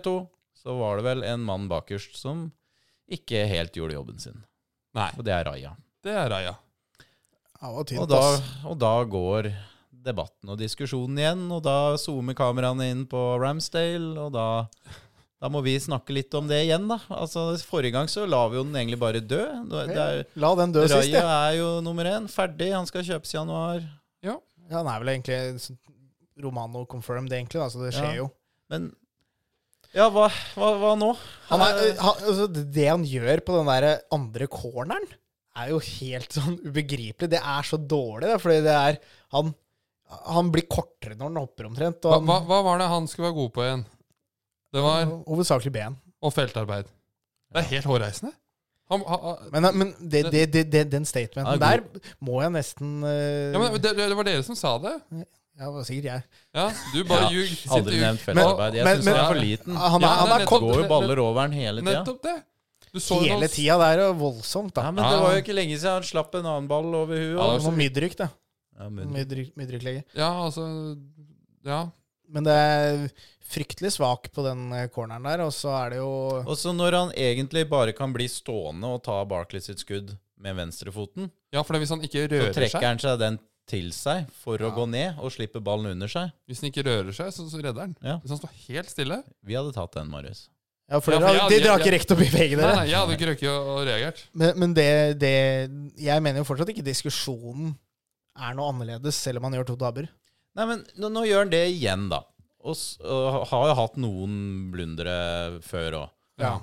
[SPEAKER 1] så var det vel en mann bakerst som ikke helt gjorde jobben sin,
[SPEAKER 2] Nei,
[SPEAKER 1] og det er Raja.
[SPEAKER 2] det er Raja.
[SPEAKER 3] Han var
[SPEAKER 1] Og
[SPEAKER 3] tynt,
[SPEAKER 1] da,
[SPEAKER 3] ass.
[SPEAKER 1] og da går debatten og diskusjonen igjen, og da zoomer kameraene inn på Ramsdale, og da, da må vi snakke litt om det igjen, da. Altså, forrige gang så la vi jo den egentlig bare dø. Nå- Det er,
[SPEAKER 3] La den dø sist,
[SPEAKER 1] Raja
[SPEAKER 3] ja.
[SPEAKER 1] er jo nummer én, ferdig, han skal kjøpes i januar.
[SPEAKER 3] Ja, Han er vel egentlig sånn Romano confirmed, egentlig. Da, så det skjer
[SPEAKER 1] Ja.
[SPEAKER 3] jo.
[SPEAKER 1] Men ja, hva, hva, hva nå?
[SPEAKER 3] Han er,
[SPEAKER 2] Eh.
[SPEAKER 3] han, altså, det han gjør på den der andre corneren, er jo helt sånn ubegripelig. Det er så dårlig, det, fordi det er han, han blir kortere når han hopper, omtrent.
[SPEAKER 2] Hva,
[SPEAKER 3] Og
[SPEAKER 2] hva,
[SPEAKER 3] han,
[SPEAKER 2] hva var det han skulle være god på igjen? Det var
[SPEAKER 3] Hovedsakelig ben.
[SPEAKER 2] Og feltarbeid. Det er helt hårreisende. Han, han, han,
[SPEAKER 3] Men, eh, men det, det, det, det, den statementen
[SPEAKER 1] Ja,
[SPEAKER 3] der
[SPEAKER 1] god.
[SPEAKER 3] må jeg nesten eh,
[SPEAKER 2] ja, men det, det var dere som sa det.
[SPEAKER 3] ja, det var sikkert jeg.
[SPEAKER 2] Ja, du bare ljug. sitter
[SPEAKER 1] Aldri
[SPEAKER 2] og
[SPEAKER 1] nevnt
[SPEAKER 2] ljug.
[SPEAKER 1] feltarbeid. Jeg
[SPEAKER 3] Men-
[SPEAKER 1] syns
[SPEAKER 3] men-
[SPEAKER 1] han er for liten.
[SPEAKER 3] Ah, Han, er-
[SPEAKER 2] Mm. Ja, det
[SPEAKER 3] han
[SPEAKER 2] er nettopp-
[SPEAKER 3] er
[SPEAKER 1] Det
[SPEAKER 3] kort
[SPEAKER 1] går jo baller over han hele tida.
[SPEAKER 2] Nettopp det. Du så jo
[SPEAKER 3] hele
[SPEAKER 2] noen-
[SPEAKER 3] tida. Det er jo voldsomt,
[SPEAKER 1] Ja,
[SPEAKER 3] da.
[SPEAKER 1] men det var jo ikke lenge siden han slapp en annen ball over huet.
[SPEAKER 2] Ja, det var
[SPEAKER 1] og-
[SPEAKER 3] Det var Midryk, da.
[SPEAKER 1] Ja, men-
[SPEAKER 3] Midryk, midrykklegger.
[SPEAKER 2] Ja, altså Ja.
[SPEAKER 3] Men det er fryktelig svak på den eh, corneren der, og så er det jo
[SPEAKER 1] Og så når han egentlig bare kan bli stående og ta Barclays sitt skudd med venstrefoten,
[SPEAKER 2] ja, for det er hvis han ikke
[SPEAKER 1] så
[SPEAKER 2] rører
[SPEAKER 1] trekker
[SPEAKER 2] seg
[SPEAKER 1] han seg den til seg for å gå ned og slippe ballen under seg.
[SPEAKER 2] Hvis han ikke rører seg, så, så redder han.
[SPEAKER 1] Ja.
[SPEAKER 2] Hvis han står helt stille
[SPEAKER 1] Vi hadde tatt den, Marius.
[SPEAKER 3] Ja, for
[SPEAKER 2] Ja,
[SPEAKER 3] dere
[SPEAKER 2] for
[SPEAKER 3] har-
[SPEAKER 2] jeg-
[SPEAKER 3] dere dere har
[SPEAKER 2] jeg-
[SPEAKER 3] ikke rekt opp i veggen,
[SPEAKER 2] Nei,
[SPEAKER 3] dere.
[SPEAKER 2] nei, jeg hadde ikke røket og, og reagert.
[SPEAKER 3] Men, men det, det Jeg mener jo fortsatt ikke diskusjonen er noe annerledes, selv om man gjør to tabber.
[SPEAKER 1] Nei, men nå, nå gjør han det igjen, da. Og, s- og har jo hatt noen blundere før òg.
[SPEAKER 2] Ja.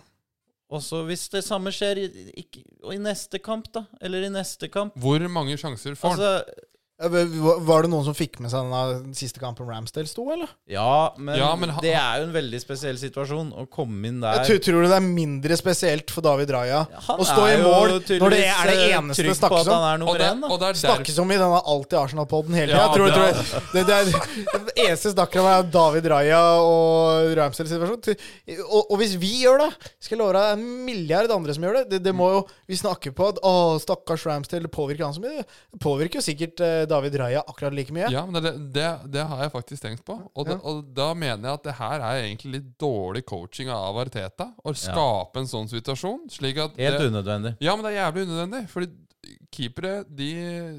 [SPEAKER 1] Og så hvis det samme skjer i, ikke, og i neste kamp, da, eller i neste kamp
[SPEAKER 2] Hvor mange sjanser får han?
[SPEAKER 1] Altså,
[SPEAKER 3] Ja, men Var var det noen som fikk med seg den siste kampen Ramsdale sto, eller?
[SPEAKER 1] ja, men,
[SPEAKER 2] Ja, men han-
[SPEAKER 1] det er jo en veldig spesiell situasjon å komme inn
[SPEAKER 3] Jeg
[SPEAKER 1] der.
[SPEAKER 3] tror, tror du det er mindre spesielt for David Raja
[SPEAKER 1] Han
[SPEAKER 3] å stå i
[SPEAKER 1] er jo
[SPEAKER 3] mål når det
[SPEAKER 1] tydeligvis,
[SPEAKER 3] er det
[SPEAKER 1] eh,
[SPEAKER 3] eneste
[SPEAKER 1] trygg
[SPEAKER 3] det
[SPEAKER 1] på
[SPEAKER 3] snakkes
[SPEAKER 1] at
[SPEAKER 3] om?
[SPEAKER 1] Han er
[SPEAKER 2] Og
[SPEAKER 1] nummer
[SPEAKER 2] det,
[SPEAKER 1] én, da.
[SPEAKER 2] og det er der,
[SPEAKER 3] Snakkes om i denne Alltid Arsenal-podden hele
[SPEAKER 2] Ja,
[SPEAKER 3] tida. jeg tror,
[SPEAKER 2] det er-
[SPEAKER 3] tror, det, det, er, det eneste snakker om, er David Raja og Ramsdale situasjon. Og, og hvis vi gjør det, skal jeg love deg en milliard andre som gjør det. Det, det må jo, Vi snakker på at å, stakkars Ramsdale, det påvirker han så mye. Det påvirker jo sikkert eh, David Raja akkurat like mye.
[SPEAKER 2] Ja, men det, det, det har jeg faktisk tenkt på. Og, da- og da mener jeg at det her er egentlig litt dårlig coaching av Arteta. Å skape en sånn situasjon. Slik at
[SPEAKER 1] Helt
[SPEAKER 2] det,
[SPEAKER 1] unødvendig.
[SPEAKER 2] Ja, men det er jævlig unødvendig. Fordi keepere de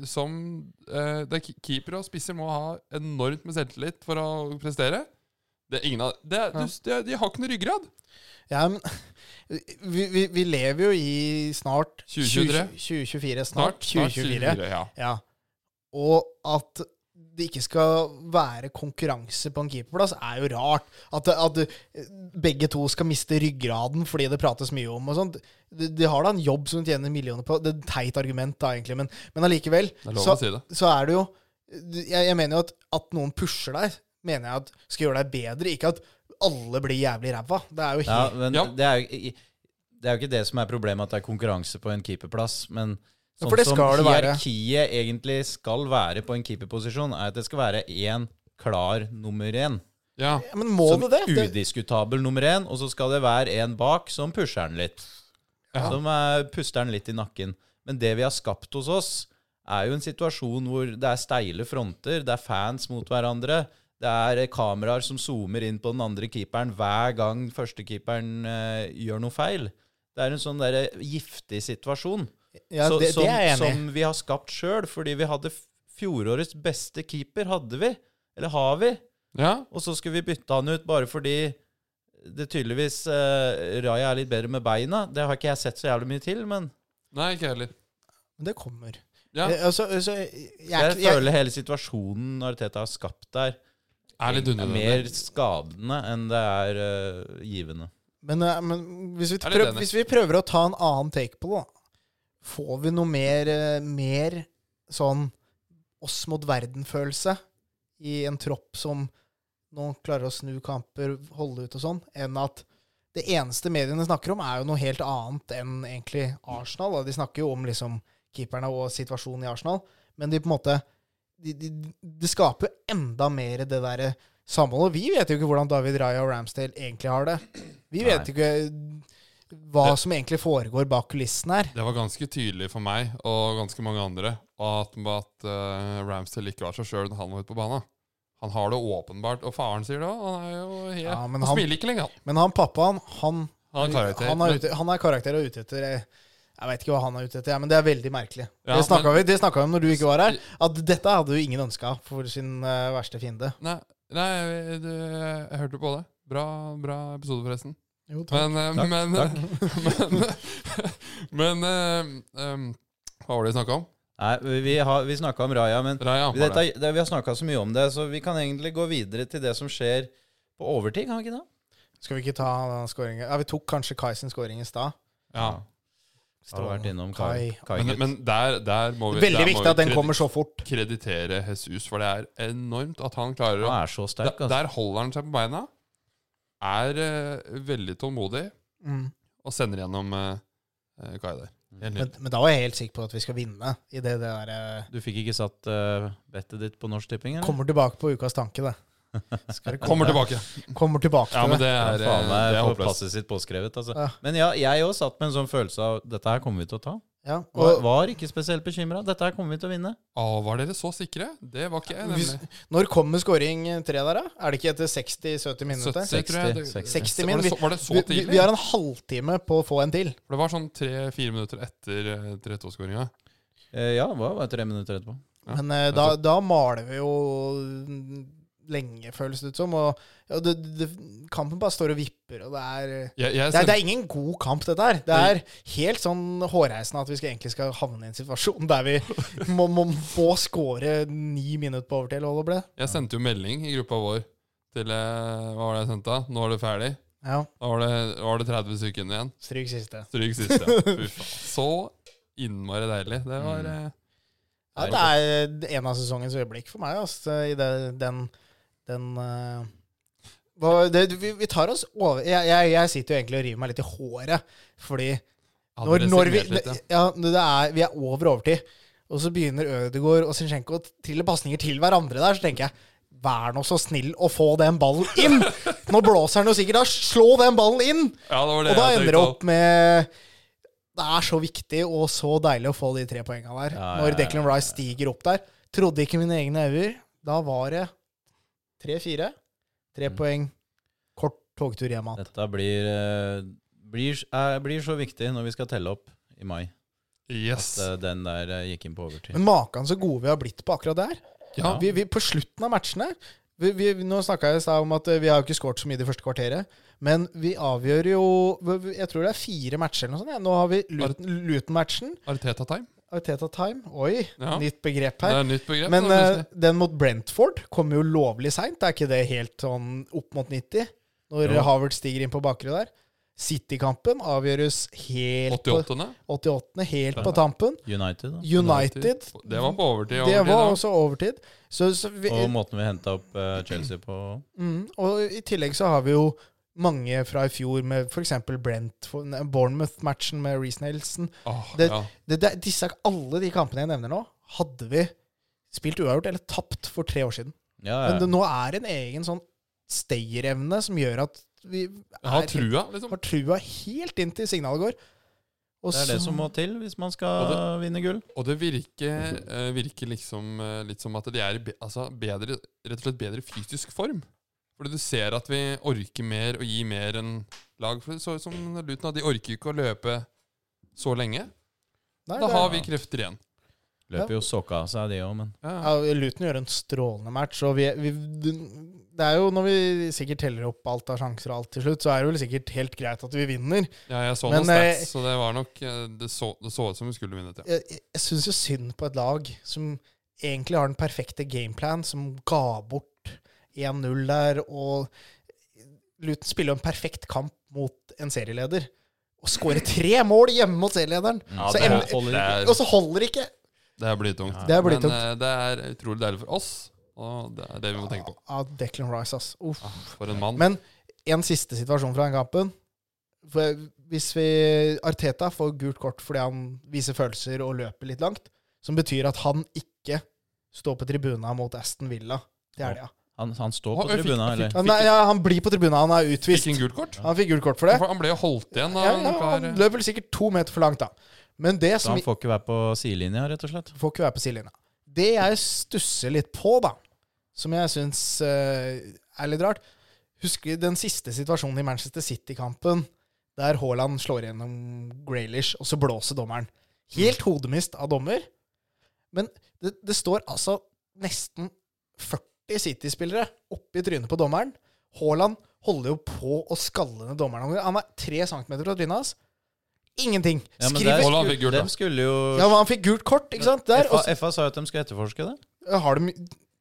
[SPEAKER 2] som eh, det er ke- Keepere og spisser må ha enormt med selvtillit for å prestere. Det er ingen av det, er- du, det, er- De har ikke noe ryggrad.
[SPEAKER 3] Ja, men vi, vi, vi lever jo i snart
[SPEAKER 2] 2023.
[SPEAKER 3] 2024. Snart 2024.
[SPEAKER 2] 2024, ja.
[SPEAKER 3] Ja. Og at det ikke skal være konkurranse på en keeperplass, er jo rart. At, at begge to skal miste ryggraden fordi det prates mye om og sånt. De, de har da en jobb som de tjener millioner på. Det er et teit argument, da, egentlig, men, men allikevel.
[SPEAKER 2] Det er lov
[SPEAKER 3] så-
[SPEAKER 2] å si det.
[SPEAKER 3] så er det jo Jeg, jeg mener jo at, at noen pusher deg, mener jeg at skal gjøre deg bedre. Ikke at alle blir jævlig ræva. Det er jo
[SPEAKER 1] Ja,
[SPEAKER 3] helt
[SPEAKER 1] men
[SPEAKER 2] Ja.
[SPEAKER 1] Det, er jo, i- det er jo ikke det som er problemet, at det er konkurranse på en keeperplass. Men
[SPEAKER 3] Ja,
[SPEAKER 1] sånn
[SPEAKER 3] for det
[SPEAKER 1] som
[SPEAKER 3] skal det være.
[SPEAKER 1] hierarkiet egentlig skal være på en keeperposisjon, er at det skal være én klar nummer én.
[SPEAKER 2] Ja.
[SPEAKER 3] ja, Men må
[SPEAKER 1] Som
[SPEAKER 3] det det? det?
[SPEAKER 1] udiskutabel nummer én, og så skal det være en bak som pusher den litt.
[SPEAKER 2] Ja.
[SPEAKER 1] Som eh, puster den litt i nakken. Men det vi har skapt hos oss, er jo en situasjon hvor det er steile fronter, det er fans mot hverandre, det er eh, kameraer som zoomer inn på den andre keeperen hver gang førstekeeperen eh, gjør noe feil. Det er en sånn derre giftig situasjon.
[SPEAKER 3] Ja,
[SPEAKER 1] Så-
[SPEAKER 3] det,
[SPEAKER 1] som,
[SPEAKER 3] det er jeg enig i.
[SPEAKER 1] som vi har skapt sjøl, fordi vi hadde f- fjorårets beste keeper, hadde vi. Eller har vi?
[SPEAKER 2] ja.
[SPEAKER 1] Og så skulle vi bytte han ut bare fordi det tydeligvis eh, Raja er litt bedre med beina. Det har ikke jeg sett så jævlig mye til, men
[SPEAKER 2] Nei, ikke jeg heller.
[SPEAKER 3] Men det kommer.
[SPEAKER 2] Ja.
[SPEAKER 3] Eh, Altså, altså, jeg,
[SPEAKER 1] jeg,
[SPEAKER 3] jeg-
[SPEAKER 1] føler hele situasjonen Arteta har skapt der,
[SPEAKER 2] Er litt
[SPEAKER 1] er
[SPEAKER 2] unødvendig.
[SPEAKER 1] mer skadende enn det er eh, givende.
[SPEAKER 3] Men, eh, men hvis, vi
[SPEAKER 2] litt
[SPEAKER 3] prøv,
[SPEAKER 2] enig.
[SPEAKER 3] hvis vi prøver å ta en annen take på det, da, får vi noe mer, eh, mer sånn oss mot verden-følelse i en tropp som nå klarer å snu kamper, holde ut og sånn, enn at det eneste mediene snakker om, er jo noe helt annet enn egentlig Arsenal. Da. De snakker jo om liksom keeperne og situasjonen i Arsenal, men de på en måte de, de, Det skaper jo enda mer det derre samholdet. Vi vet jo ikke hvordan David Raja og Ramsdale egentlig har det. Vi
[SPEAKER 1] Nei.
[SPEAKER 3] vet jo ikke hva som egentlig foregår bak kulissene her.
[SPEAKER 2] Det var ganske tydelig for meg og ganske mange andre at, at eh, Ramsdale ikke var seg sjøl når han var ute på banen. Han har det åpenbart, og faren sier det òg. Han er jo helt
[SPEAKER 3] Ja, men
[SPEAKER 2] han,
[SPEAKER 3] han-
[SPEAKER 2] smiler ikke lenger, han.
[SPEAKER 3] Men han pappaen, han,
[SPEAKER 2] Han er karakter.
[SPEAKER 3] han, er ute, han er karakter og ute etter eh, Jeg veit ikke hva han er ute etter, ja, men det er veldig merkelig.
[SPEAKER 2] Ja,
[SPEAKER 3] det snakka
[SPEAKER 2] men-
[SPEAKER 3] vi, det snakket vi om når du ikke var her, at dette hadde jo ingen ønska for sin eh, verste fiende.
[SPEAKER 2] Nei, nei jeg, du, jeg hørte på det. Bra, bra episode, forresten.
[SPEAKER 3] Jo,
[SPEAKER 2] Men, eh,
[SPEAKER 1] Takk,
[SPEAKER 2] men, men, men eh, em, Hva var det vi snakka om?
[SPEAKER 1] Nei, vi- vi, har- vi snakka om Raja, men
[SPEAKER 2] Raja. var
[SPEAKER 1] dette,
[SPEAKER 2] det.
[SPEAKER 1] det, vi har snakka så mye om det, så vi kan egentlig gå videre til det som skjer på overtid, kan vi ikke det?
[SPEAKER 3] Skal vi ikke ta den scoringen? Ja, vi tok kanskje Kai sin scoring i stad.
[SPEAKER 2] Ja.
[SPEAKER 1] Har du vært innom Kai.
[SPEAKER 3] Kai.
[SPEAKER 1] Kai
[SPEAKER 2] Men, men der, der må vi der
[SPEAKER 3] Veldig
[SPEAKER 2] må
[SPEAKER 3] viktig
[SPEAKER 2] vi
[SPEAKER 3] at den
[SPEAKER 2] kredi-
[SPEAKER 3] kommer så fort.
[SPEAKER 2] kreditere Jesus, for det er enormt at han klarer å
[SPEAKER 1] han er så sterk,
[SPEAKER 2] der,
[SPEAKER 1] altså.
[SPEAKER 2] der holder han seg på beina. Er eh, veldig tålmodig
[SPEAKER 3] Mm.
[SPEAKER 2] og sender gjennom eh, eh, Kai der. Helt
[SPEAKER 3] Men,
[SPEAKER 2] nydelig.
[SPEAKER 3] men da var jeg helt sikker på at vi skal vinne. I det, det der, eh,
[SPEAKER 1] Du fikk ikke satt eh, bettet ditt på Norsk Tipping? eller?
[SPEAKER 3] kommer tilbake på ukas tanke, det. Skal det
[SPEAKER 2] Kommer tilbake.
[SPEAKER 3] komme- kommer tilbake
[SPEAKER 2] Ja,
[SPEAKER 3] til
[SPEAKER 2] men
[SPEAKER 3] det.
[SPEAKER 2] det er,
[SPEAKER 1] ja, faen
[SPEAKER 2] eh,
[SPEAKER 1] meg
[SPEAKER 2] det er
[SPEAKER 1] får
[SPEAKER 2] håpløst.
[SPEAKER 1] passet sitt påskrevet. Altså.
[SPEAKER 3] Ja.
[SPEAKER 1] Men ja, jeg òg satt med en sånn følelse av dette her kommer vi til å ta.
[SPEAKER 3] Ja,
[SPEAKER 1] Var,
[SPEAKER 3] og
[SPEAKER 1] var ikke spesielt bekymra. Dette her kommer vi til å vinne.
[SPEAKER 2] Å, var dere så sikre? Det var ikke jeg,
[SPEAKER 3] hvis-
[SPEAKER 2] nemlig.
[SPEAKER 3] når kommer scoring tre der, da? Er det ikke etter 60-70 minutter?
[SPEAKER 2] 70, tror jeg. Det-
[SPEAKER 1] 60,
[SPEAKER 3] 60
[SPEAKER 2] Var
[SPEAKER 3] min.
[SPEAKER 2] det så, var det så
[SPEAKER 3] Vi, vi,
[SPEAKER 2] tidlig?
[SPEAKER 3] vi har en halvtime på å få en til.
[SPEAKER 2] For det var sånn tre-fire minutter etter eh, 3-2-skåringa.
[SPEAKER 1] Eh, ja, det var bare tre minutter etterpå.
[SPEAKER 2] Ja,
[SPEAKER 3] Men eh, da, da maler vi jo lenge, føles det ut som. Og, og det, det, kampen bare står og vipper, og det er
[SPEAKER 2] Jeg, jeg
[SPEAKER 3] det er, det
[SPEAKER 2] sendte,
[SPEAKER 3] er ingen god kamp, dette her. Det er helt sånn hårreisende at vi skal, egentlig skal havne i en situasjon der vi må, må, må score ni minutter på overtid, eller hva det ble.
[SPEAKER 2] jeg sendte jo melding i gruppa vår til eh, Hva var det jeg sendte? da? Nå er det ferdig.
[SPEAKER 3] Ja,
[SPEAKER 2] Da var det, var det 30 stykker igjen.
[SPEAKER 3] stryk siste.
[SPEAKER 2] Stryk siste. Fy faen. Så innmari deilig. Det var eh,
[SPEAKER 3] Ja, det er en av sesongens øyeblikk for meg, altså, i det, den, den eh, hva- det, vi, vi tar oss over jeg, jeg, jeg sitter jo egentlig og river meg litt i håret, fordi
[SPEAKER 2] hadde
[SPEAKER 3] Når, når vi,
[SPEAKER 2] resignert litt, ja.
[SPEAKER 3] ja, det er, vi er over overtid, og så begynner Ødegaard og Zinchenko å trille pasninger til hverandre der, så tenker jeg Vær nå så snill å få den ballen inn! Nå blåser han jo sikkert av. Slå den ballen inn!
[SPEAKER 2] Ja, det var
[SPEAKER 3] Og
[SPEAKER 2] det
[SPEAKER 3] da
[SPEAKER 2] jeg
[SPEAKER 3] ender det
[SPEAKER 2] tenkte
[SPEAKER 3] opp med Det er så viktig og så deilig å få de tre poengene der.
[SPEAKER 1] Ja, ja,
[SPEAKER 3] Når Declan Rice stiger opp der. Trodde ikke mine egne øyne. Da var det tre-fire. Tre
[SPEAKER 1] Mm.
[SPEAKER 3] poeng. Kort togtur hjem igjen.
[SPEAKER 1] Dette blir, eh, blir, er, blir så viktig når vi skal telle opp i mai.
[SPEAKER 2] om. Yes.
[SPEAKER 1] At eh, den der eh, gikk inn på overtid.
[SPEAKER 3] Men maken så gode vi har blitt på akkurat der.
[SPEAKER 2] Ja,
[SPEAKER 3] Vi, vi, på slutten av matchene vi, vi, Nå snakka jeg i stad om at eh, vi har jo ikke skåret så mye det første kvarteret. Men vi avgjør jo vi- vi- Jeg tror det er fire matcher eller noe sånt. Ja. Nå har vi Luton- Luton-matchen.
[SPEAKER 2] Arteta time.
[SPEAKER 3] Arteta Time. Oi,
[SPEAKER 2] Ja.
[SPEAKER 3] nytt begrep
[SPEAKER 2] Det
[SPEAKER 3] her.
[SPEAKER 2] er et nytt begrep.
[SPEAKER 3] Men
[SPEAKER 2] da,
[SPEAKER 3] eh,
[SPEAKER 2] plutselig.
[SPEAKER 3] den mot Brentford kom jo lovlig seint. Er ikke det helt sånn opp mot 90? Når
[SPEAKER 2] Jo.
[SPEAKER 3] Havertz stiger inn på bakre der. City-kampen avgjøres helt
[SPEAKER 2] 88.
[SPEAKER 3] på 88. Helt på tampen.
[SPEAKER 1] United, da.
[SPEAKER 3] United
[SPEAKER 2] Det var på overtid.
[SPEAKER 3] Det
[SPEAKER 2] overtid,
[SPEAKER 3] var
[SPEAKER 2] da.
[SPEAKER 3] også overtid. Så, så vi,
[SPEAKER 1] Og måten vi henta opp eh, Chelsea på.
[SPEAKER 3] mm, og i tillegg så har vi jo mange fra i fjor med f.eks. Brent, Bournemouth-matchen med Reece Nelson.
[SPEAKER 2] Åh,
[SPEAKER 3] det-
[SPEAKER 2] Ah, ja.
[SPEAKER 3] Det, det, disse, alle de kampene jeg nevner nå, hadde vi spilt uavgjort eller tapt for tre år siden.
[SPEAKER 1] Ja,
[SPEAKER 3] Men det,
[SPEAKER 1] ja.
[SPEAKER 3] nå er en egen sånn stayerevne som gjør at vi
[SPEAKER 2] Jeg har
[SPEAKER 3] er-
[SPEAKER 2] trua, liksom.
[SPEAKER 3] har trua helt inn til signalet går. Og
[SPEAKER 1] Det er det
[SPEAKER 3] så-
[SPEAKER 1] som må til hvis man skal
[SPEAKER 2] Og
[SPEAKER 1] vinne gull.
[SPEAKER 2] Og det virker, eh, virker liksom eh, litt som at de er i be, altså bedre, rett og slett bedre fysisk form. Fordi du ser at vi orker mer og gir mer enn lag. For det så ut som Luton at de orker jo ikke å løpe så lenge.
[SPEAKER 3] Nei,
[SPEAKER 2] Da
[SPEAKER 3] det-
[SPEAKER 2] har vi krefter igjen.
[SPEAKER 1] Løper jo sokka av seg, de òg, men
[SPEAKER 2] Ja.
[SPEAKER 3] Ja, Luton gjør en strålende match. Og vi, vi, det er jo når vi sikkert teller opp alt av sjanser og alt til slutt, så er det vel sikkert helt greit at vi vinner.
[SPEAKER 2] Ja, jeg så
[SPEAKER 3] Men,
[SPEAKER 2] noen
[SPEAKER 3] eh,
[SPEAKER 2] stats, så det var nok eh, Det så, det så ut som vi skulle vunnet, ja.
[SPEAKER 3] Jeg, jeg- jeg syns jo synd på et lag som egentlig har den perfekte gameplan, som ga bort 1-0 der, og Luton spiller jo en perfekt kamp mot en serieleder. Og skårer tre mål hjemme mot serielederen!
[SPEAKER 1] Ja,
[SPEAKER 3] så
[SPEAKER 1] det
[SPEAKER 3] em-
[SPEAKER 1] holder
[SPEAKER 2] det
[SPEAKER 1] ikke.
[SPEAKER 2] er,
[SPEAKER 3] og så holder det ikke!
[SPEAKER 2] det er blytungt.
[SPEAKER 3] Det er blytungt.
[SPEAKER 2] Men eh, det er utrolig deilig for oss, og det er det vi må tenke på. Ah,
[SPEAKER 3] Ja, Declan Rice, ass. Uff.
[SPEAKER 2] For en mann.
[SPEAKER 3] Men en siste situasjon fra den kampen. For hvis vi, Arteta får gult kort fordi han viser følelser og løper litt langt, som betyr at han ikke står på tribuna mot Aston Villa til helga.
[SPEAKER 1] han, han
[SPEAKER 2] Å,
[SPEAKER 1] står på
[SPEAKER 2] jeg fikk-
[SPEAKER 1] tribuna,
[SPEAKER 2] jeg fikk-
[SPEAKER 1] eller?
[SPEAKER 3] Han, nei, ja, han blir på tribuna, han er utvist.
[SPEAKER 2] Fikk en gult kort.
[SPEAKER 3] Han fikk gult kort for det.
[SPEAKER 2] For han ble jo holdt igjen da.
[SPEAKER 3] Ja, ja,
[SPEAKER 2] han var-
[SPEAKER 3] han løp vel sikkert to meter for langt, da. Men det
[SPEAKER 1] Så
[SPEAKER 3] som
[SPEAKER 1] han får ikke være på sidelinja, rett og slett.
[SPEAKER 3] får ikke være på sidelinja. Det jeg stusser litt på, da, som jeg syns eh, er litt rart Husker du den siste situasjonen i Manchester City-kampen, der Haaland slår gjennom Graylish, og så blåser dommeren. Helt hodemist av dommer. Men det, det står altså nesten 40 City-spillere oppi trynet på dommeren. Haaland holder jo på å skalle ned dommeren. Han er tre centimeter fra trynet hans. Ingenting!
[SPEAKER 1] Ja, men
[SPEAKER 3] Skriver
[SPEAKER 1] der-
[SPEAKER 2] Haaland fikk gult, da.
[SPEAKER 1] De skulle jo
[SPEAKER 3] Ja, men han fikk gult kort, ikke sant? Der, og
[SPEAKER 1] FA, FA sa jo at de skulle etterforske det.
[SPEAKER 3] Eh, har de,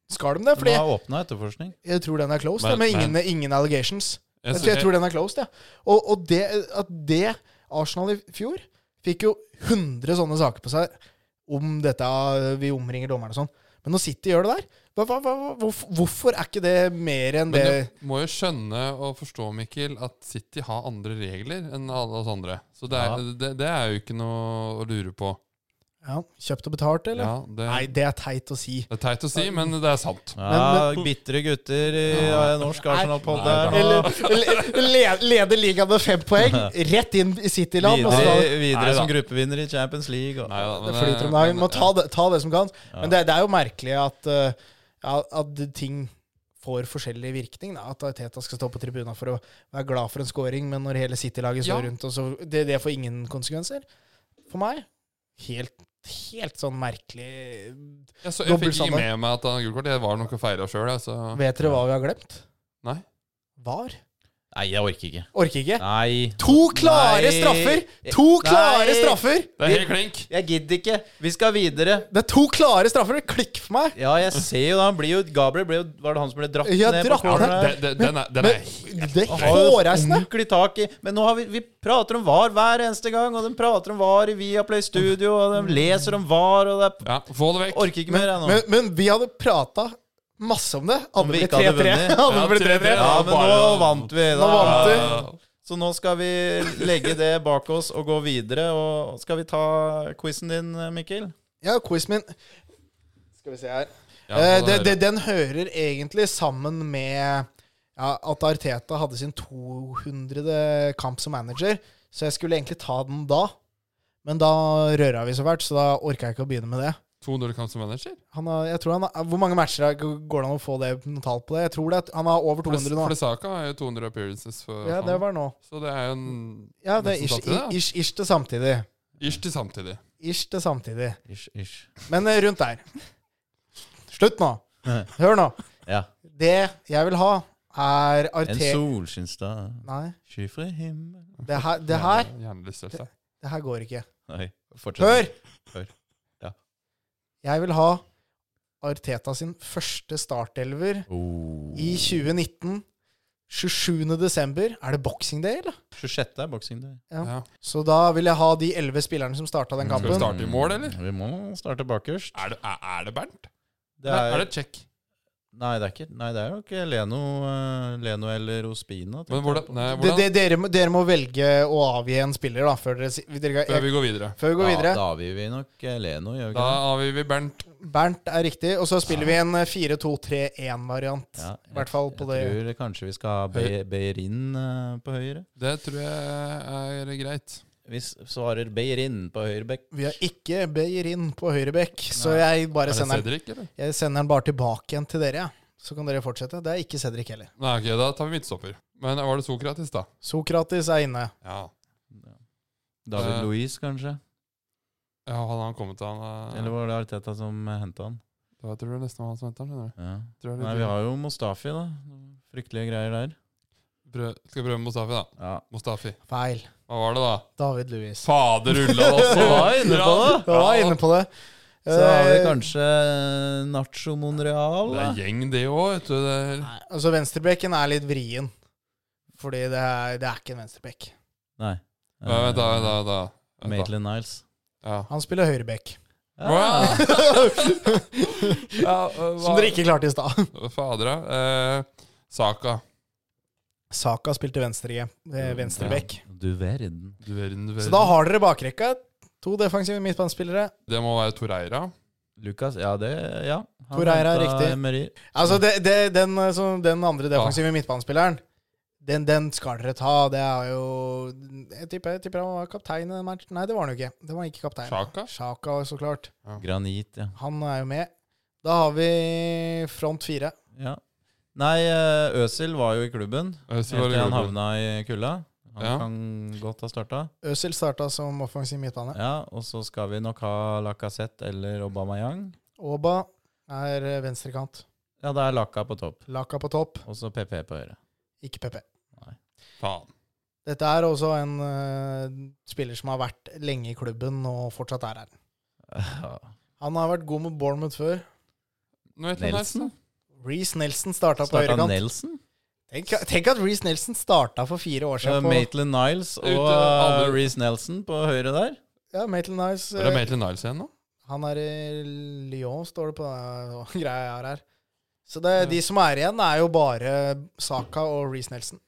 [SPEAKER 3] skal de det?
[SPEAKER 1] De
[SPEAKER 3] Fordi
[SPEAKER 1] har åpna etterforskning.
[SPEAKER 3] jeg tror den er closed,
[SPEAKER 2] Men-
[SPEAKER 3] ja, men ingen, ingen allegations.
[SPEAKER 2] Jeg
[SPEAKER 3] Jeg,
[SPEAKER 2] synes-
[SPEAKER 3] tror- jeg tror den er closed, ja. Og, og det, at det Arsenal i fjor fikk jo 100 sånne saker på seg om dette vi omringer dommerne og sånn. Men når City gjør det der, hva, hva, hva, hvorfor, hvorfor er ikke det mer enn det
[SPEAKER 2] Men du må jo skjønne og forstå, Mikkel, at City har andre regler enn alle oss andre. Så det er,
[SPEAKER 1] Ja.
[SPEAKER 2] det, det er jo ikke noe å lure på.
[SPEAKER 3] ja, Kjøpt og betalt, eller?
[SPEAKER 2] Ja, det,
[SPEAKER 3] Nei, det er teit å si.
[SPEAKER 2] det er teit å si, men det er sant.
[SPEAKER 1] Ja,
[SPEAKER 3] men-
[SPEAKER 1] bitre gutter i ja, norsk Arsenal-pod
[SPEAKER 2] Nei,
[SPEAKER 1] der.
[SPEAKER 3] Eller le- le- leder ligaen med fem poeng, rett inn i City-land. og så-
[SPEAKER 1] Videre,
[SPEAKER 2] Nei,
[SPEAKER 1] videre
[SPEAKER 2] da.
[SPEAKER 1] som gruppevinner i Champions League. Og.
[SPEAKER 2] Neida, men,
[SPEAKER 3] Det flyter om dagen. Må
[SPEAKER 2] men-
[SPEAKER 3] ta det, ta det som kan. Men det, det er jo merkelig at, eh, ja, at ting får forskjellig virkning. Da. At Teta skal stå på tribunen for å være glad for en scoring, men når hele City-laget står
[SPEAKER 2] Ja.
[SPEAKER 3] rundt, og så, det, det får ingen konsekvenser. For meg helt, helt sånn merkelig
[SPEAKER 2] Jeg, så, jeg
[SPEAKER 3] Dobbelt
[SPEAKER 2] fikk ikke med
[SPEAKER 3] standard.
[SPEAKER 2] meg at han har gult kort. Det var nok å feire sjøl, jeg. Så
[SPEAKER 3] Vet dere hva vi har glemt?
[SPEAKER 2] Nei.
[SPEAKER 3] VAR?
[SPEAKER 1] Nei, jeg orker ikke.
[SPEAKER 3] Orker ikke.
[SPEAKER 1] Nei.
[SPEAKER 3] To klare
[SPEAKER 1] Nei.
[SPEAKER 3] straffer! To klare
[SPEAKER 1] Nei.
[SPEAKER 3] straffer!
[SPEAKER 2] det er helt klink!
[SPEAKER 1] Jeg gidder ikke. Vi skal videre.
[SPEAKER 3] Det er to klare straffer! Klikk for meg!
[SPEAKER 1] Ja, jeg ser jo det. Han blir jo Gabriel ble jo, Var det han som ble dratt
[SPEAKER 3] Ja,
[SPEAKER 1] ned
[SPEAKER 3] dratt
[SPEAKER 1] på corner
[SPEAKER 2] Ja,
[SPEAKER 1] der?
[SPEAKER 2] det, det, den er, den er
[SPEAKER 3] Men, det er
[SPEAKER 1] Han har jo
[SPEAKER 3] hårreisende!
[SPEAKER 1] ordentlig tak i Men nå har vi, vi prater om VAR hver eneste gang, og de prater om VAR i Viaplay Studio, og de leser om VAR, og det er
[SPEAKER 2] Ja, få det vekk.
[SPEAKER 1] Orker ikke mer, jeg nå.
[SPEAKER 3] Men, men vi hadde prata masse om det.
[SPEAKER 1] Om
[SPEAKER 3] Hadde
[SPEAKER 1] vi
[SPEAKER 3] blitt
[SPEAKER 1] ikke hadde
[SPEAKER 3] 3-3.
[SPEAKER 1] vunnet.
[SPEAKER 3] Hadde
[SPEAKER 2] Ja,
[SPEAKER 3] blitt 3-3.
[SPEAKER 1] ja, sånn. men nå
[SPEAKER 2] bare-
[SPEAKER 1] vant vi. Da.
[SPEAKER 3] Nå vant vi.
[SPEAKER 1] Så nå skal vi legge det bak oss og gå videre. Og skal vi ta quizen din, Mikkel?
[SPEAKER 3] Ja, quizen min Skal vi se her.
[SPEAKER 2] Ja,
[SPEAKER 3] Eh,
[SPEAKER 2] det
[SPEAKER 3] det,
[SPEAKER 2] er-
[SPEAKER 3] det, den hører egentlig sammen med ja, at Arteta hadde sin 200. kamp som manager, så jeg skulle egentlig ta den da. Men da røra vi så fælt, så da orka jeg ikke å begynne med det.
[SPEAKER 2] 2-0 kamp som manager?
[SPEAKER 3] Han har, jeg tror han har, hvor mange matcher er- går det an å få det noe tall på det? Jeg tror det, er- Han har over 200 nå.
[SPEAKER 2] Flesaka har jo 200 appearances. For,
[SPEAKER 3] Ja, det var nå.
[SPEAKER 2] Så det er jo en
[SPEAKER 3] Ja, det er
[SPEAKER 2] nesten
[SPEAKER 3] ish,
[SPEAKER 2] samtidig, da.
[SPEAKER 3] ish, ish det samtidig.
[SPEAKER 2] Ish til samtidig.
[SPEAKER 3] Ish det samtidig.
[SPEAKER 1] Ish, ish.
[SPEAKER 3] Men eh, rundt der. Slutt nå. Hør nå.
[SPEAKER 1] Ja.
[SPEAKER 3] Det jeg vil ha, er
[SPEAKER 1] En
[SPEAKER 3] Arte...
[SPEAKER 1] solskinnsdag
[SPEAKER 3] Nei,
[SPEAKER 1] skyfri himmel
[SPEAKER 3] det her, det her,
[SPEAKER 2] Gjerne- Hjernerystelse.
[SPEAKER 3] det her går ikke.
[SPEAKER 1] Nei, fortsett.
[SPEAKER 3] Hør!
[SPEAKER 1] Hør. Ja.
[SPEAKER 3] Jeg vil ha Arteta sin første startelver
[SPEAKER 1] Oh.
[SPEAKER 3] i 2019. 27. desember. Er det Boxing Day, eller?
[SPEAKER 1] 26. er boksing day.
[SPEAKER 2] Ja.
[SPEAKER 3] Så da vil jeg ha de elleve spillerne som starta den
[SPEAKER 2] Skal vi
[SPEAKER 3] kampen.
[SPEAKER 2] starte i mål, eller?
[SPEAKER 1] Vi må starte bakerst.
[SPEAKER 2] Er det, er, er det Bernt?
[SPEAKER 1] Det
[SPEAKER 2] Nei, er
[SPEAKER 1] er,
[SPEAKER 2] det Check?
[SPEAKER 1] nei, det er ikke Nei, det er jo ikke Leno, eh, Leno eller Ospina.
[SPEAKER 2] Men
[SPEAKER 1] tenkte jeg
[SPEAKER 2] hvordan,
[SPEAKER 1] på.
[SPEAKER 2] nei,
[SPEAKER 3] Det,
[SPEAKER 2] hvordan
[SPEAKER 3] det, dere, må- dere må velge å avgi en spiller, da, før dere, si- dere
[SPEAKER 2] Før vi går videre.
[SPEAKER 3] Før vi går
[SPEAKER 1] Ja,
[SPEAKER 3] videre.
[SPEAKER 1] da avgir vi nok eh, Leno, gjør vi
[SPEAKER 2] Da
[SPEAKER 1] ikke det?
[SPEAKER 2] avgir vi Bernt.
[SPEAKER 3] Bernt er riktig, og så spiller vi en eh, 4-2-3-1-variant.
[SPEAKER 1] Ja,
[SPEAKER 3] I hvert fall på det.
[SPEAKER 1] Jeg tror kanskje vi skal ha Be- Beirin eh, på høyre.
[SPEAKER 2] Det tror jeg er greit.
[SPEAKER 1] Vi s- svarer Beirin på høyrebekk.
[SPEAKER 3] Vi har ikke Beirin på høyrebekk, så jeg
[SPEAKER 2] Er
[SPEAKER 3] bare
[SPEAKER 2] det
[SPEAKER 3] sender den,
[SPEAKER 2] Cedric, eller?
[SPEAKER 3] jeg sender den bare tilbake igjen til dere. ja. Så kan dere fortsette. Det er ikke Cedric heller.
[SPEAKER 2] Nei, ok, da tar vi midtstopper. Men var det Sokrates, da?
[SPEAKER 3] Sokratis er inne.
[SPEAKER 2] Ja.
[SPEAKER 1] David
[SPEAKER 2] Eh.
[SPEAKER 1] Louise, kanskje?
[SPEAKER 2] ja hadde han kommet, han eh,
[SPEAKER 1] Eller var det Arteta som henta han?
[SPEAKER 2] Da tror jeg nesten var han som hentet han, skjønner du.
[SPEAKER 1] Ja.
[SPEAKER 2] Tror jeg
[SPEAKER 1] Nei,
[SPEAKER 2] litt-
[SPEAKER 1] vi har jo Mustafi, da. Fryktelige greier der.
[SPEAKER 2] Prøv, skal vi prøve Mustafi, da?
[SPEAKER 1] Ja.
[SPEAKER 2] Mustafi.
[SPEAKER 3] Feil.
[SPEAKER 2] Hva var det, da?
[SPEAKER 3] David Louis.
[SPEAKER 2] Faderulla, altså!
[SPEAKER 1] Du var inne på det.
[SPEAKER 3] Jeg var inne på det.
[SPEAKER 1] Så har vi
[SPEAKER 3] Eh,
[SPEAKER 1] kanskje eh, Nacho Monreal.
[SPEAKER 2] Det
[SPEAKER 1] Da.
[SPEAKER 2] er gjeng, det òg, vet du. Det er.
[SPEAKER 3] Nei, altså Venstrebekken er litt vrien. Fordi det er, det er ikke en venstrebekk.
[SPEAKER 1] Nei.
[SPEAKER 2] Ja, vent, da, vent, da. Vent, da. Vent da.
[SPEAKER 1] Maitland Niles.
[SPEAKER 2] Ja.
[SPEAKER 3] Han spiller høyrebekk.
[SPEAKER 2] Wow. Ja,
[SPEAKER 3] Som dere ikke klarte i stad.
[SPEAKER 2] Fader, ja. Eh, Saka.
[SPEAKER 3] Saka spilte venstre, eh, venstrebekk.
[SPEAKER 1] Du verden.
[SPEAKER 2] Du verden, du
[SPEAKER 3] Så
[SPEAKER 2] verden.
[SPEAKER 3] da har dere bakrekka. To defensive midtbanespillere.
[SPEAKER 2] Det må være Toreira.
[SPEAKER 1] Lukas, ja det Ja. Han
[SPEAKER 3] Torreira er
[SPEAKER 1] hentet
[SPEAKER 3] riktig.
[SPEAKER 1] Emery.
[SPEAKER 3] Altså, det, det, den, eh, som- den andre defensive midtbanespilleren, den, den skal dere ta. Det er jo Jeg tipper, jeg tipper han var kaptein i den matchen. Nei, det var han jo ikke. Det var ikke kaptein.
[SPEAKER 2] Saka?
[SPEAKER 3] Sjaka, så klart.
[SPEAKER 1] Granit, ja.
[SPEAKER 3] Han er jo med. Da har vi front fire.
[SPEAKER 1] ja. Nei, eh, Øsil var jo i klubben
[SPEAKER 2] Eh, så var det
[SPEAKER 1] helt til han
[SPEAKER 2] Liverpool.
[SPEAKER 1] havna i kulda. Han
[SPEAKER 2] Ja.
[SPEAKER 1] kan godt ha starta.
[SPEAKER 3] Øzil starta som offensiv midtbane.
[SPEAKER 1] Ja, og så skal vi nok ha Lacassette eller Aubameyang.
[SPEAKER 3] Oba er eh, venstrekant.
[SPEAKER 1] Ja, det er Laka på topp.
[SPEAKER 3] Laka på topp,
[SPEAKER 1] Og så PP på høyre.
[SPEAKER 3] ikke PP.
[SPEAKER 2] Faen.
[SPEAKER 3] Dette er også en eh, spiller som har vært lenge i klubben og fortsatt er her.
[SPEAKER 1] Ja.
[SPEAKER 3] Han har vært god mot Bournemouth før.
[SPEAKER 2] Nå vet jeg
[SPEAKER 1] Nelson?
[SPEAKER 2] Nelson.
[SPEAKER 3] Reece Nelson starta på
[SPEAKER 1] Starta
[SPEAKER 3] høyrekant.
[SPEAKER 1] Nelson?
[SPEAKER 3] Tenk, tenk at Reece Nelson starta for fire år
[SPEAKER 1] Ja,
[SPEAKER 3] siden. på,
[SPEAKER 1] Eh, Maitland Niles og
[SPEAKER 2] Ute, alle-
[SPEAKER 1] eh, Reece Nelson på høyre der.
[SPEAKER 3] ja, Maitland Nice.
[SPEAKER 2] Var det Maitland Niles igjen nå?
[SPEAKER 3] han er i Lyon, står det på den eh, greia jeg har her. Så det, de som er igjen, er jo bare Saka og Reece Nelson.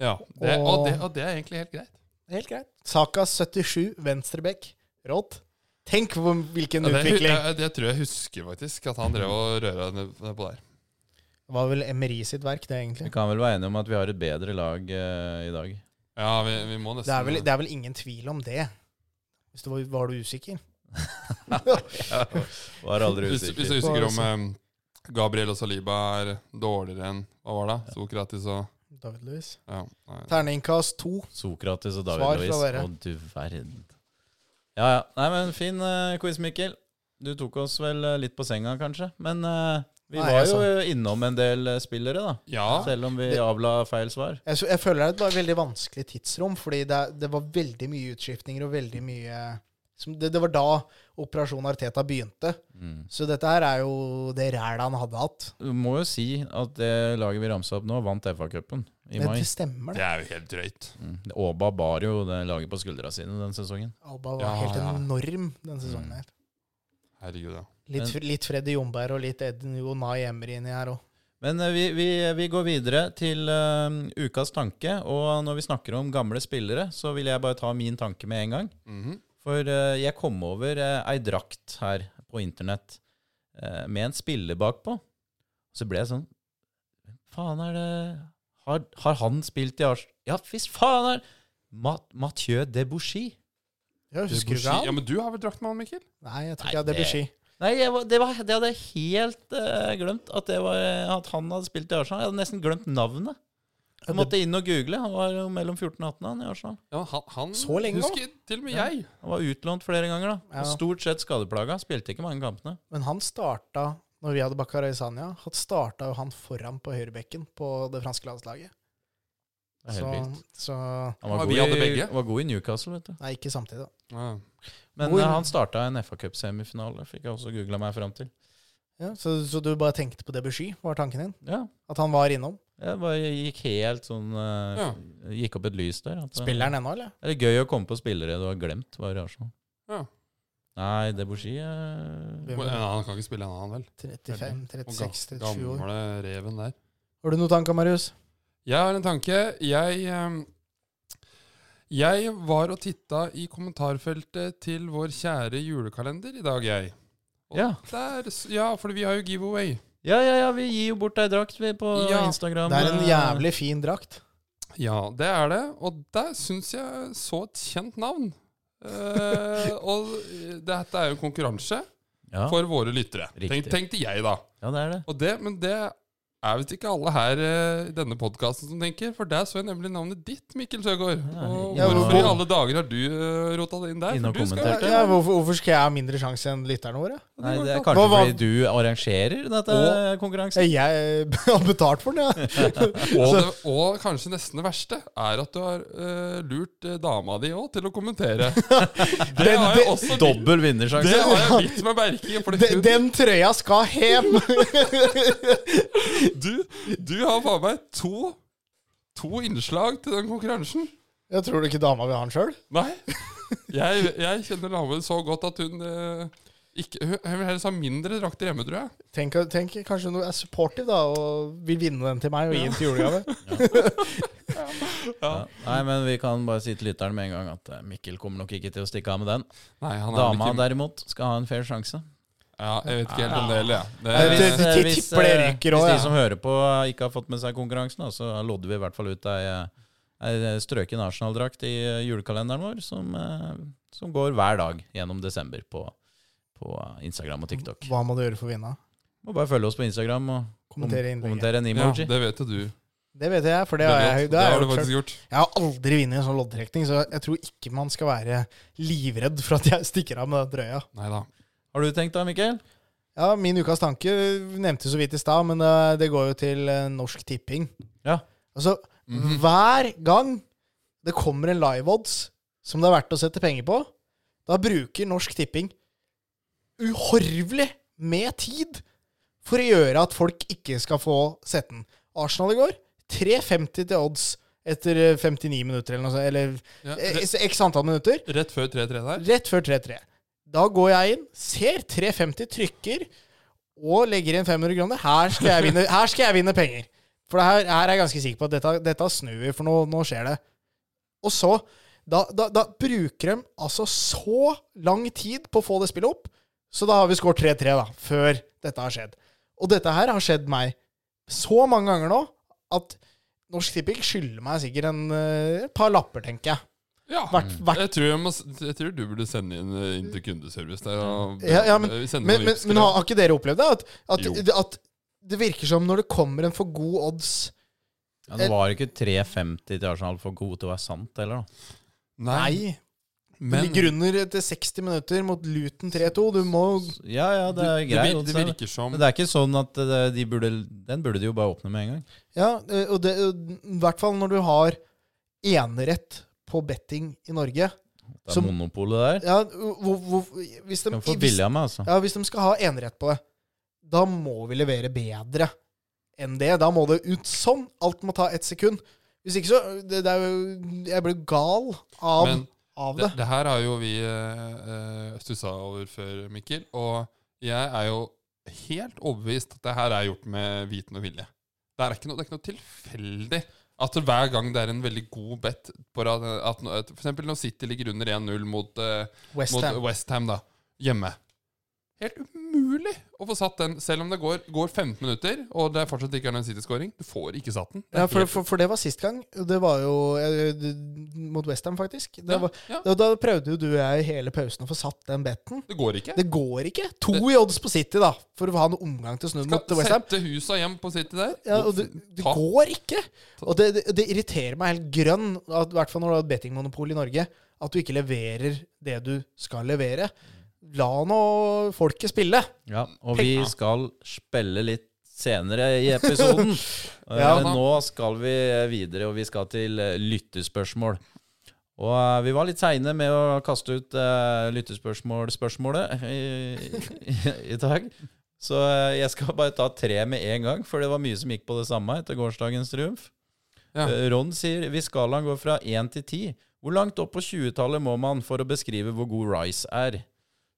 [SPEAKER 2] Ja. Det, og,
[SPEAKER 3] Og-
[SPEAKER 2] det, og det er egentlig helt greit.
[SPEAKER 3] Helt greit. Saka 77, venstrebekk. Rått. Tenk hvor, hvilken
[SPEAKER 2] Ja, det, jeg,
[SPEAKER 3] utvikling.
[SPEAKER 2] jeg, jeg tror jeg husker faktisk at han drev og røra nedpå der.
[SPEAKER 3] Det var vel Emery sitt verk, det,
[SPEAKER 1] Vi
[SPEAKER 3] egentlig.
[SPEAKER 1] kan vel være enige om at vi har et bedre lag eh, i dag.
[SPEAKER 2] Ja, vi, vi må nesten
[SPEAKER 3] Det er, vel, det er vel ingen tvil om det. Hvis du var, var du usikker?
[SPEAKER 1] Var aldri
[SPEAKER 2] Hvis, hvis
[SPEAKER 1] usikker.
[SPEAKER 2] du husker om eh, Gabriel og Saliba er dårligere enn Hva var det? Sokratis og
[SPEAKER 3] David Lewis.
[SPEAKER 2] ja, nei.
[SPEAKER 3] Terningkast to.
[SPEAKER 1] Sokrates og
[SPEAKER 3] Svar
[SPEAKER 1] David
[SPEAKER 3] fra
[SPEAKER 1] Louis.
[SPEAKER 3] dere.
[SPEAKER 1] Å, du verden. Ja, ja. Nei, men fin eh, quiz, Mikkel. Du tok oss vel eh, litt på senga, kanskje. Men eh, vi
[SPEAKER 3] Nei,
[SPEAKER 1] var
[SPEAKER 3] altså.
[SPEAKER 1] jo innom en del eh, spillere, da.
[SPEAKER 2] ja.
[SPEAKER 1] Selv om vi
[SPEAKER 3] Det-
[SPEAKER 1] avla feil svar.
[SPEAKER 3] Jeg, så- jeg føler det var et veldig vanskelig tidsrom, fordi det, er- det var veldig mye utskiftninger og veldig mye som, det, det var da operasjon Arteta begynte. Så dette her er jo det rælet han hadde hatt.
[SPEAKER 1] Du må jo si at det laget vi ramsa opp nå, vant FA-cupen i
[SPEAKER 3] Men
[SPEAKER 1] mai.
[SPEAKER 3] det stemmer, det.
[SPEAKER 2] Det er jo helt drøyt.
[SPEAKER 1] Mm. Åba bar jo det laget på skuldra sine den sesongen.
[SPEAKER 3] Alba var
[SPEAKER 2] Ja,
[SPEAKER 3] helt
[SPEAKER 2] ja.
[SPEAKER 3] enorm denne sesongen her.
[SPEAKER 2] Herregud, ja.
[SPEAKER 3] Litt,
[SPEAKER 1] Mm. Men-
[SPEAKER 3] fr- litt Freddy Jomberg og litt Edin Jonai Emry inni her òg.
[SPEAKER 1] Men eh, vi, vi, vi går videre til eh, ukas tanke. Og når vi snakker om gamle spillere, så vil jeg bare ta min tanke med en gang.
[SPEAKER 2] Mhm.
[SPEAKER 1] For eh, jeg kom over eh, ei drakt her på internett eh, med en spiller bakpå. Så ble jeg sånn Hvem faen er det Har, har han spilt i Ars... Ja, hvis faen er Mat Mathieu Debouchy.
[SPEAKER 3] Ja, husker
[SPEAKER 2] Debussy-
[SPEAKER 3] du ikke han?
[SPEAKER 2] Ja, men du har vel drakt med han, Mikkel?
[SPEAKER 3] Nei, jeg tror
[SPEAKER 1] Nei,
[SPEAKER 3] ikke jeg hadde
[SPEAKER 1] det-
[SPEAKER 3] Debussy.
[SPEAKER 1] Nei, jeg var, det, var, det hadde jeg helt eh, glemt. At, det var, eh, at han hadde spilt i Arsenal. Jeg hadde nesten glemt navnet. Jeg måtte inn og google. Han var jo mellom 14 og 18 han, i Arsenal.
[SPEAKER 2] Ja, men han, han
[SPEAKER 3] Så lenge, da?
[SPEAKER 2] husker til og med jeg.
[SPEAKER 1] Han var utlånt flere ganger. da
[SPEAKER 3] Ja.
[SPEAKER 1] Stort sett skadeplaga. Spilte ikke mange kampene.
[SPEAKER 3] Men han starta når vi hadde Bakary Sanja, starta jo han foran på høyrebekken på det franske landslaget.
[SPEAKER 1] Det er helt vilt.
[SPEAKER 3] så, så
[SPEAKER 1] Han
[SPEAKER 2] Ja,
[SPEAKER 1] var,
[SPEAKER 2] vi
[SPEAKER 1] god
[SPEAKER 2] hadde
[SPEAKER 1] i,
[SPEAKER 2] begge.
[SPEAKER 1] var god i Newcastle, vet du.
[SPEAKER 3] Nei, ikke samtidig, da.
[SPEAKER 2] Ja.
[SPEAKER 1] Men
[SPEAKER 3] Hvor-
[SPEAKER 1] eh, han starta en FA Cup-semifinale, fikk jeg også googla meg fram til.
[SPEAKER 3] Ja, så, så du bare tenkte på Debussy, var tanken din?
[SPEAKER 1] Ja,
[SPEAKER 3] At han var innom?
[SPEAKER 1] jeg bare gikk helt sånn eh,
[SPEAKER 2] Ja.
[SPEAKER 1] Gikk opp et lys der. At, eh,
[SPEAKER 3] Spiller han ennå, eller?
[SPEAKER 1] Er det gøy å komme på spillere du har glemt? Var i Arsenal.
[SPEAKER 2] Ja.
[SPEAKER 1] Nei, Debussy eh,
[SPEAKER 2] Men Han kan ikke spille en annen, vel?
[SPEAKER 3] 35, 36,
[SPEAKER 2] Og
[SPEAKER 3] 37 år.
[SPEAKER 2] gamle reven der.
[SPEAKER 3] Har du noen tanker, Marius?
[SPEAKER 2] Jeg har en tanke. Jeg, ehm, jeg var og titta i kommentarfeltet til vår kjære julekalender i dag, jeg. Og
[SPEAKER 1] Ja.
[SPEAKER 2] Der, s- ja, for vi har jo giveaway.
[SPEAKER 1] Ja, ja, ja, vi gir jo bort ei drakt, vi, på
[SPEAKER 2] Ja.
[SPEAKER 1] Instagram.
[SPEAKER 3] Det er en
[SPEAKER 1] eh,
[SPEAKER 3] jævlig fin drakt.
[SPEAKER 2] Ja, det er det. Og der syns jeg så et kjent navn. Eh, og dette er jo en konkurranse
[SPEAKER 1] ja.
[SPEAKER 2] for våre lyttere. Tenk,
[SPEAKER 1] Riktig.
[SPEAKER 2] tenkte jeg, da.
[SPEAKER 1] ja, det er det.
[SPEAKER 2] Og det, men det er visst ikke alle her eh, i denne podkasten som tenker, for der så jeg nemlig navnet ditt, Mikkel Søgaard.
[SPEAKER 1] Ja,
[SPEAKER 2] Og
[SPEAKER 3] ja,
[SPEAKER 2] hvorfor
[SPEAKER 3] hvor-
[SPEAKER 2] i alle dager har du eh, rota det inn der?
[SPEAKER 1] Inn og
[SPEAKER 2] For du skal-
[SPEAKER 1] kommentert.
[SPEAKER 3] Ja, hvorfor, hvorfor skal jeg ha mindre sjanse enn lytterne våre?
[SPEAKER 1] Nei,
[SPEAKER 2] går
[SPEAKER 1] det er
[SPEAKER 2] ikke
[SPEAKER 1] kanskje
[SPEAKER 3] Hva var-
[SPEAKER 1] fordi du arrangerer dette
[SPEAKER 2] Og-
[SPEAKER 1] konkurransen.
[SPEAKER 3] Eh, Jeg har betalt for den, ja.
[SPEAKER 2] Og, det, og kanskje nesten det verste er at du har eh, lurt eh, dama di òg til å kommentere. Det har jeg også bitt-
[SPEAKER 1] Dobbel
[SPEAKER 2] det
[SPEAKER 1] vinnersjanse.
[SPEAKER 2] har jeg bitt meg merke i. fordi
[SPEAKER 3] Den,
[SPEAKER 2] hun-
[SPEAKER 3] den trøya skal hjem!
[SPEAKER 2] Du, du har faen meg to, to innslag til den konkurransen.
[SPEAKER 3] Jeg tror du ikke dama vil ha den sjøl?
[SPEAKER 2] Nei. Jeg, jeg kjenner Laven så godt at hun eh, ikke, Hun hun vil helst ha mindre drakter hjemme, tror jeg.
[SPEAKER 3] Tenk, tenk kanskje hun er supportive da, og vil vinne den til meg og gi den til julegave.
[SPEAKER 1] Ja. Nei, men vi kan bare si til lytteren med en gang at eh, Mikkel kommer nok ikke til å stikke av med den.
[SPEAKER 2] Nei, han er
[SPEAKER 1] Dama
[SPEAKER 2] vel ikke,
[SPEAKER 1] derimot skal ha en fair sjanse.
[SPEAKER 2] ja, Jeg vet ikke helt om det heller, jeg. Det,
[SPEAKER 3] Jeg
[SPEAKER 1] Hvis,
[SPEAKER 3] vet-
[SPEAKER 1] eh,
[SPEAKER 3] de
[SPEAKER 1] hvis,
[SPEAKER 3] tipper det
[SPEAKER 1] eh,
[SPEAKER 3] ryker
[SPEAKER 1] hvis
[SPEAKER 3] også,
[SPEAKER 1] de
[SPEAKER 3] ja.
[SPEAKER 1] som hører på eh, ikke har fått med seg konkurransen, da, så lodder vi i hvert fall ut ei, eh, ei strøken Arsenal-drakt i eh, julekalenderen vår, som, eh, som går hver dag gjennom desember på, på eh, Instagram og TikTok.
[SPEAKER 3] Hva må du gjøre for å vinne?
[SPEAKER 1] Må bare følge oss på Instagram og kom-
[SPEAKER 3] Kommentere innlegget.
[SPEAKER 1] kommentere en
[SPEAKER 2] ja,
[SPEAKER 1] emoji.
[SPEAKER 2] det vet jo du.
[SPEAKER 3] Det vet jeg, for
[SPEAKER 2] Det,
[SPEAKER 3] det har jeg,
[SPEAKER 2] vet,
[SPEAKER 3] det
[SPEAKER 2] det har
[SPEAKER 3] har
[SPEAKER 2] du
[SPEAKER 3] jeg gjort selv.
[SPEAKER 2] faktisk gjort.
[SPEAKER 3] Jeg har aldri vunnet en sånn loddtrekning, så jeg tror ikke man skal være livredd for at jeg stikker av med den trøya.
[SPEAKER 2] Nei da.
[SPEAKER 1] Har du tenkt da, Mikkel?
[SPEAKER 3] Ja, Min ukas tanke nevnte så vidt i stad, men eh, det går jo til eh, Norsk Tipping.
[SPEAKER 1] Ja.
[SPEAKER 3] Altså, hver gang det kommer en live-odds som det er verdt å sette penger på, da bruker Norsk Tipping uhorvelig med tid for å gjøre at folk ikke skal få sett den. Arsenal i går 3,50 til odds etter eh, 59 minutter, eller noe sånt. Eller
[SPEAKER 2] Ja,
[SPEAKER 3] eh,
[SPEAKER 2] rett,
[SPEAKER 3] x antall minutter.
[SPEAKER 2] rett før 3-3 der.
[SPEAKER 3] Rett før 3-3. Da går jeg inn, ser 3,50, trykker og legger inn 500 kroner. Her skal jeg vinne, her skal jeg vinne penger. For det her, her er jeg ganske sikker på at dette, dette snur vi, for nå, nå skjer det. Og så da, da, da bruker de altså så lang tid på å få det spillet opp, så da har vi skåret 3-3, da, før dette har skjedd. Og dette her har skjedd meg så mange ganger nå at Norsk Tipping skylder meg sikkert en, eh, et par lapper, tenker jeg.
[SPEAKER 2] Ja.
[SPEAKER 3] Hvert, hvert
[SPEAKER 2] Jeg tror, jeg, må, s- jeg tror du burde sende inn, eh, inn til kundeservice der. Og,
[SPEAKER 3] Ja, ja, men,
[SPEAKER 2] eh, sende
[SPEAKER 3] men,
[SPEAKER 2] noen
[SPEAKER 3] men,
[SPEAKER 2] Vipps
[SPEAKER 3] men
[SPEAKER 2] til
[SPEAKER 3] har har ikke dere opplevd det? At,
[SPEAKER 2] Jo.
[SPEAKER 3] at, at det virker som når det kommer en for god odds
[SPEAKER 1] Ja, det var ikke 3,50 til Arsenal for god til å være sant heller, da.
[SPEAKER 2] det. Nei,
[SPEAKER 3] Nei. Det
[SPEAKER 2] men
[SPEAKER 3] ligger under etter 60 minutter mot Luton 3-2. Du må
[SPEAKER 1] Ja, ja, det er
[SPEAKER 2] det,
[SPEAKER 1] greit.
[SPEAKER 2] vir- det
[SPEAKER 1] odds, ja.
[SPEAKER 2] virker som
[SPEAKER 1] Men det er ikke sånn at eh, de burde, den burde de jo bare åpne med en gang.
[SPEAKER 3] Ja, eh, og det, og i hvert fall når du har enerett på betting i Norge.
[SPEAKER 1] Det er
[SPEAKER 3] Som-
[SPEAKER 1] monopolet der.
[SPEAKER 3] Ja, hvor, hvor, hvis, de,
[SPEAKER 1] Kan få
[SPEAKER 3] hvis,
[SPEAKER 1] billig av meg, altså.
[SPEAKER 3] ja, hvis de skal ha enerett på det, da må vi levere bedre enn det. Da må det ut sånn. Alt må ta ett sekund. Hvis ikke så det, det er jo, Jeg blir gal av,
[SPEAKER 2] Men
[SPEAKER 3] av
[SPEAKER 2] det,
[SPEAKER 3] det.
[SPEAKER 2] det her har jo vi uh, stussa over før, Mikkel. Og jeg er jo helt overbevist at det her er gjort med viten og vilje. Det er ikke noe, det er ikke noe tilfeldig at hver gang det er en veldig god bet på at, at, at For eksempel når City ligger under 1-0 mot, eh,
[SPEAKER 3] West
[SPEAKER 2] mot
[SPEAKER 3] Ham.
[SPEAKER 2] West Ham, da, hjemme. Helt umulig å få satt den, selv om det går, går 15 minutter og det fortsatt ikke er noen City-scoring. Du får ikke satt den. Det er
[SPEAKER 3] Ja, for,
[SPEAKER 2] helt-
[SPEAKER 3] for, for det var sist gang. Det var jo eh, d- mot Westham, faktisk.
[SPEAKER 2] Ja,
[SPEAKER 3] Det var,
[SPEAKER 2] ja.
[SPEAKER 3] Da, da prøvde jo du og jeg i hele pausen å få satt den betten.
[SPEAKER 2] det går ikke.
[SPEAKER 3] Det går ikke. To i odds på City, da, for å ha en omgang til å snu den mot
[SPEAKER 2] Skal
[SPEAKER 3] Westham.
[SPEAKER 2] sette husa hjem på City der.
[SPEAKER 3] Ja, og det, det
[SPEAKER 2] Ta-
[SPEAKER 3] går ikke! Og det, det, det irriterer meg helt grønn, at, i hvert fall når du har et bettingmonopol i Norge, at du ikke leverer det du skal levere. La nå folket spille.
[SPEAKER 1] Ja, og vi skal spille litt senere i episoden. Eh,
[SPEAKER 3] Ja.
[SPEAKER 1] Nå skal vi videre, og vi skal til eh, lyttespørsmål. Og eh, vi var litt seine med å kaste ut eh, lyttespørsmål-spørsmålet i, i, i dag. Så eh, jeg skal bare ta tre med en gang, for det var mye som gikk på det samme etter gårsdagens triumf.
[SPEAKER 2] Ja.
[SPEAKER 1] Eh, Ron sier hvis skalaen går fra 1 til 10, hvor langt opp på 20-tallet må man for å beskrive hvor god Rice er?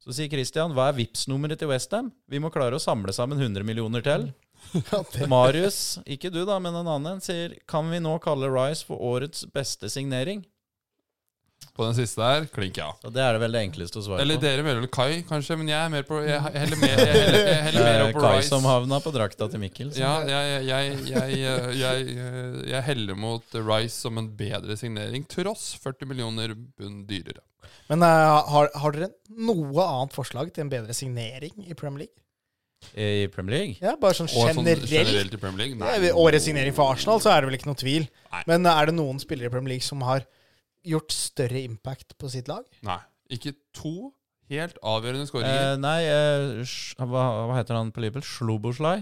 [SPEAKER 1] Så sier Christian, hva er Vipps-nummeret til Westham? Vi må klare å samle sammen 100 millioner til.
[SPEAKER 3] Ja, det-
[SPEAKER 1] Marius, ikke du da, men en annen, sier kan vi nå kalle Rice for årets beste signering?
[SPEAKER 2] På den siste der, klink ja.
[SPEAKER 1] Og det er det vel det enkleste å svare
[SPEAKER 2] Eller
[SPEAKER 1] på.
[SPEAKER 2] dere melder vel Kai, kanskje, men jeg er mer på Jeg heller mer, jeg heller, jeg heller mer
[SPEAKER 1] Eh,
[SPEAKER 2] opp på
[SPEAKER 1] Kai
[SPEAKER 2] Rice.
[SPEAKER 1] som havna på drakta til Mikkel. så-
[SPEAKER 2] Ja, jeg, jeg, jeg, jeg, jeg, jeg heller mot Rice som en bedre signering, tross 40 millioner pund dyrere.
[SPEAKER 3] Men eh, har, har dere noe annet forslag til en bedre signering i Premier League?
[SPEAKER 1] I Premier League.
[SPEAKER 3] Ja, bare sånn
[SPEAKER 2] Og sånn
[SPEAKER 3] generelt.
[SPEAKER 2] generelt i Premier League?
[SPEAKER 3] Ja, ved Årets signering for Arsenal, så er det vel ikke noe tvil.
[SPEAKER 2] Nei.
[SPEAKER 3] Men eh, er det noen spillere i Premier League som har gjort større impact på sitt lag?
[SPEAKER 2] Nei. Ikke to helt avgjørende skåringer.
[SPEAKER 1] Eh, nei, eh, Sh- hva, hva heter han på Liverpool? Sloboslai?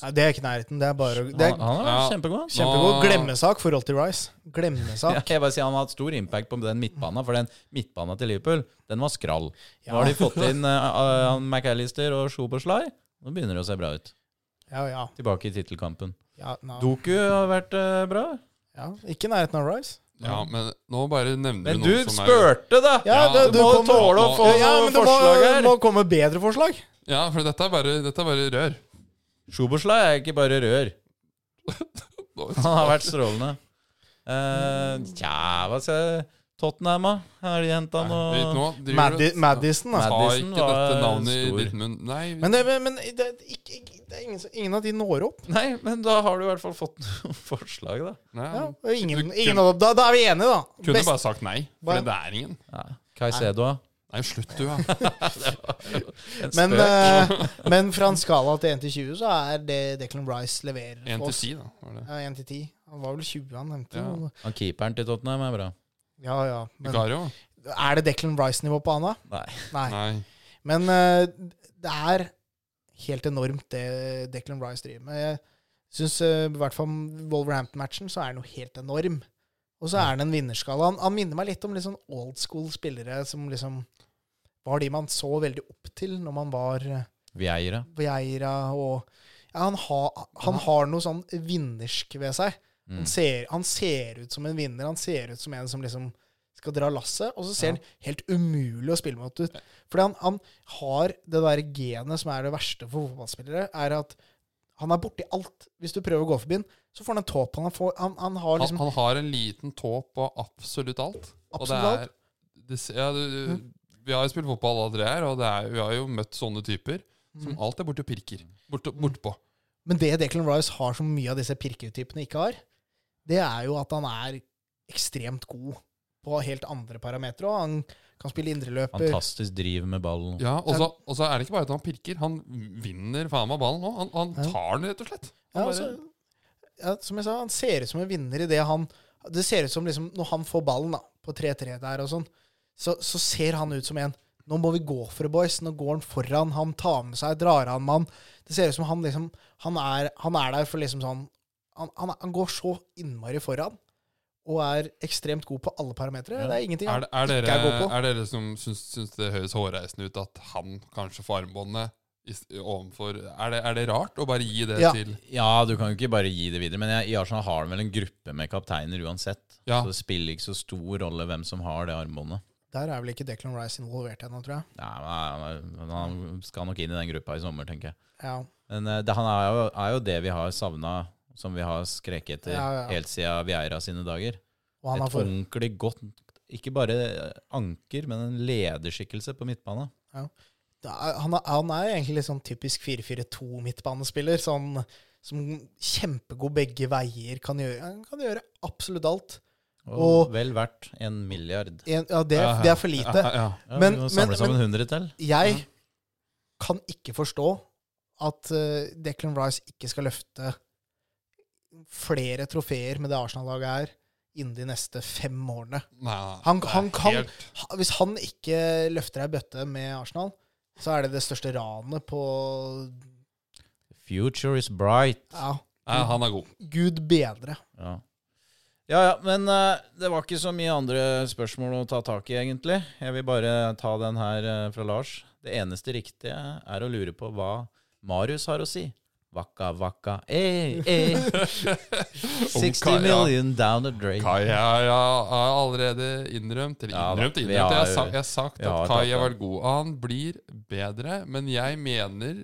[SPEAKER 3] Nei, det er ikke nærheten. Det er bare det er
[SPEAKER 1] Han, han er
[SPEAKER 2] Ja.
[SPEAKER 1] kjempegod. han.
[SPEAKER 2] Nå-
[SPEAKER 3] kjempegod glemmesak for Rolty Rice.
[SPEAKER 1] Ja,
[SPEAKER 3] Glemmesak.
[SPEAKER 1] jeg bare sier Han har hatt stor impact på den midtbanen, for den midtbanen til Liverpool den var skrall.
[SPEAKER 3] Ja.
[SPEAKER 1] Nå har de fått inn uh, McAllister og Schubersley. Nå begynner det å se bra ut.
[SPEAKER 3] Ja, ja.
[SPEAKER 1] Tilbake i tittelkampen.
[SPEAKER 3] ja, no.
[SPEAKER 1] Ah. Doku har vært eh, bra.
[SPEAKER 3] ja. Ikke nærheten av Rice.
[SPEAKER 2] ja, men nå bare nevner
[SPEAKER 1] Men
[SPEAKER 2] du
[SPEAKER 1] du
[SPEAKER 2] noen som er
[SPEAKER 1] spurte, da!
[SPEAKER 3] Ja,
[SPEAKER 2] Ja,
[SPEAKER 1] Du må jo tåle å få
[SPEAKER 3] ja, men
[SPEAKER 1] noen
[SPEAKER 3] det må,
[SPEAKER 1] forslag
[SPEAKER 3] det
[SPEAKER 1] her.
[SPEAKER 3] må komme bedre forslag.
[SPEAKER 2] Ja, for dette er bare, dette er bare rør.
[SPEAKER 1] Schubersley er ikke bare rør.
[SPEAKER 2] Nå-
[SPEAKER 1] Han har vært strålende. Eh, Tja, hva skal jeg Tottenham, da? Har de henta
[SPEAKER 2] Nei,
[SPEAKER 1] noe
[SPEAKER 2] nå driver
[SPEAKER 3] Maddi
[SPEAKER 2] du-
[SPEAKER 3] Madison, da.
[SPEAKER 1] Mad-
[SPEAKER 2] Ta
[SPEAKER 1] Madison
[SPEAKER 2] ikke dette
[SPEAKER 1] var
[SPEAKER 2] navnet i
[SPEAKER 1] stor.
[SPEAKER 2] ditt munn. Nei,
[SPEAKER 3] Men, det, men det, er ikke, ikke- det er ingen, som- ingen av de når opp.
[SPEAKER 1] Nei, men da har du i hvert fall fått noen forslag, da.
[SPEAKER 2] nei
[SPEAKER 3] Ja,
[SPEAKER 2] han
[SPEAKER 3] og ingen,
[SPEAKER 2] Du
[SPEAKER 3] ingen
[SPEAKER 2] kunne-
[SPEAKER 3] av dem. Da, da er vi enige, da.
[SPEAKER 2] kunne
[SPEAKER 3] Best-
[SPEAKER 2] bare sagt nei,
[SPEAKER 3] Bare-
[SPEAKER 2] for det er ingen.
[SPEAKER 1] Ja. Caicedo, da?
[SPEAKER 2] Nei, slutt du, ja.
[SPEAKER 1] En
[SPEAKER 3] Men,
[SPEAKER 1] spøk.
[SPEAKER 3] eh, men fra en skala til 1 til 20, så er det Declan Rice leverer
[SPEAKER 2] 1 til
[SPEAKER 3] for oss.
[SPEAKER 2] 10, da. Var det.
[SPEAKER 3] Ja, 1 til 10. Han var vel 20 han nevnte.
[SPEAKER 2] Ja.
[SPEAKER 3] Ja.
[SPEAKER 1] Han keeperen til Tottenham er bra.
[SPEAKER 3] ja, ja. Men
[SPEAKER 2] Vicario?
[SPEAKER 3] er det Declan Rice-nivå på han da?
[SPEAKER 1] Nei.
[SPEAKER 3] Nei.
[SPEAKER 2] Nei.
[SPEAKER 3] Men eh, det er helt enormt det Declan Rice driver med. Jeg syns i hvert fall Wolverhampton-matchen så er han jo helt enorm. Og så er han en vinnerskalle. Han, han minner meg litt om litt sånn old school spillere som liksom var de man så veldig opp til når man var eh,
[SPEAKER 1] Vieira.
[SPEAKER 3] Vieira og ja, han, har- han har noe sånn vinnersk ved seg. Han ser, han ser ut som en vinner. Han ser ut som en som liksom skal dra lasset. Og så ser han helt umulig å spille mot ut. Fordi han, han har det der genet som er det verste for fotballspillere, er at han er borti alt. Hvis du prøver å gå forbi han, så får han en tå på han. Han, får, han, han har
[SPEAKER 2] Han,
[SPEAKER 3] liksom
[SPEAKER 2] han har en liten tå på absolutt alt. Og det
[SPEAKER 3] Absolutt Mm.
[SPEAKER 2] er, det, s- ja, du, du, vi har jo spilt fotball, alle tre her, og det er, vi har jo møtt sånne typer
[SPEAKER 3] Mm.
[SPEAKER 2] som alltid er borte og pirker. Borte, bortpå.
[SPEAKER 3] Men det Declan Rice har som mye av disse pirketypene ikke har, det er jo at han er ekstremt god på helt andre parametere. og Han kan spille indreløper.
[SPEAKER 1] Fantastisk driv med ballen.
[SPEAKER 2] Ja, og så og så er det ikke bare at han pirker, han vinner faen meg ballen nå. Han, han tar den, rett og slett.
[SPEAKER 3] Ja,
[SPEAKER 2] Han bare-
[SPEAKER 3] altså, ja, som jeg sa, han ser ut som en vinner i det han Det ser ut som liksom når han får ballen da, på 3-3 der og sånn, så, så ser han ut som en Nå må vi gå for det, boys. Nå går han foran. Han tar med seg, drar av en mann. Det ser ut som han liksom Han er, han er der for liksom sånn han, han, han går så innmari foran. Og er ekstremt god på alle parametere. Det er ingenting
[SPEAKER 2] er,
[SPEAKER 3] han
[SPEAKER 2] det- er,
[SPEAKER 3] ikke er god
[SPEAKER 2] dere,
[SPEAKER 3] på.
[SPEAKER 2] er dere som syns, syns det høres hårreisende ut at han kanskje får armbåndet i s- overfor er det, er det rart å bare gi det
[SPEAKER 3] Ja.
[SPEAKER 2] til
[SPEAKER 1] Ja, du kan jo ikke bare gi det videre, men jeg, i Arsenal har de vel en gruppe med kapteiner uansett.
[SPEAKER 2] Ja.
[SPEAKER 1] Så det spiller ikke så stor rolle hvem som har det armbåndet.
[SPEAKER 3] Der er vel ikke Declan Rice involvert ennå, tror jeg.
[SPEAKER 1] Nei, men han- Han skal nok inn i den gruppa i sommer, tenker jeg.
[SPEAKER 3] Ja.
[SPEAKER 1] Men eh, det, han er jo, er jo det vi har savna, som vi har skreket etter
[SPEAKER 3] Ja, ja.
[SPEAKER 1] helt siden Vieira sine dager.
[SPEAKER 3] Og han
[SPEAKER 1] Et
[SPEAKER 3] har for,
[SPEAKER 1] ordentlig godt ikke bare anker, men en lederskikkelse på midtbanen.
[SPEAKER 3] Da er- han, er, han er egentlig litt sånn typisk 4-4-2-midtbanespiller. Sånn, som kjempegod begge veier. Kan gjøre, han kan gjøre absolutt alt.
[SPEAKER 1] Og,
[SPEAKER 3] Og-
[SPEAKER 1] vel verdt en milliard.
[SPEAKER 3] En, ja, det, det er for lite.
[SPEAKER 2] Ja, ja.
[SPEAKER 1] Ja,
[SPEAKER 3] Men-
[SPEAKER 1] vi må
[SPEAKER 3] men-
[SPEAKER 1] samle sammen
[SPEAKER 3] men-
[SPEAKER 1] 100 til.
[SPEAKER 3] Jeg kan ikke forstå at eh, Declan Rice ikke skal løfte flere trofeer med det Arsenal-laget er innen de neste fem årene.
[SPEAKER 2] Nei, nei,
[SPEAKER 3] Han,
[SPEAKER 2] det er
[SPEAKER 3] han kan,
[SPEAKER 2] helt-
[SPEAKER 3] ha- hvis han ikke løfter ei bøtte med Arsenal, så er det det største ranet på
[SPEAKER 1] Future is bright.
[SPEAKER 3] ja,
[SPEAKER 2] Nei, han er god.
[SPEAKER 3] Gud bedre.
[SPEAKER 1] Ja. Ja, ja, men eh, det var ikke så mye andre spørsmål å ta tak i, egentlig. Jeg vil bare ta den her eh, fra Lars. Det eneste riktige er å lure på hva Marius har å si. Vakka, vakka, eh, eh. 60 million down the drain.
[SPEAKER 2] Kai jeg, jeg har allerede innrømt Eller
[SPEAKER 1] Ja da,
[SPEAKER 2] innrømt,
[SPEAKER 1] vi
[SPEAKER 2] innrømt. Jeg, har,
[SPEAKER 1] har-
[SPEAKER 2] sa- jeg har sagt
[SPEAKER 1] vi har
[SPEAKER 2] at Kai
[SPEAKER 1] tatt
[SPEAKER 2] har
[SPEAKER 1] den.
[SPEAKER 2] vært god. Han blir bedre, men jeg mener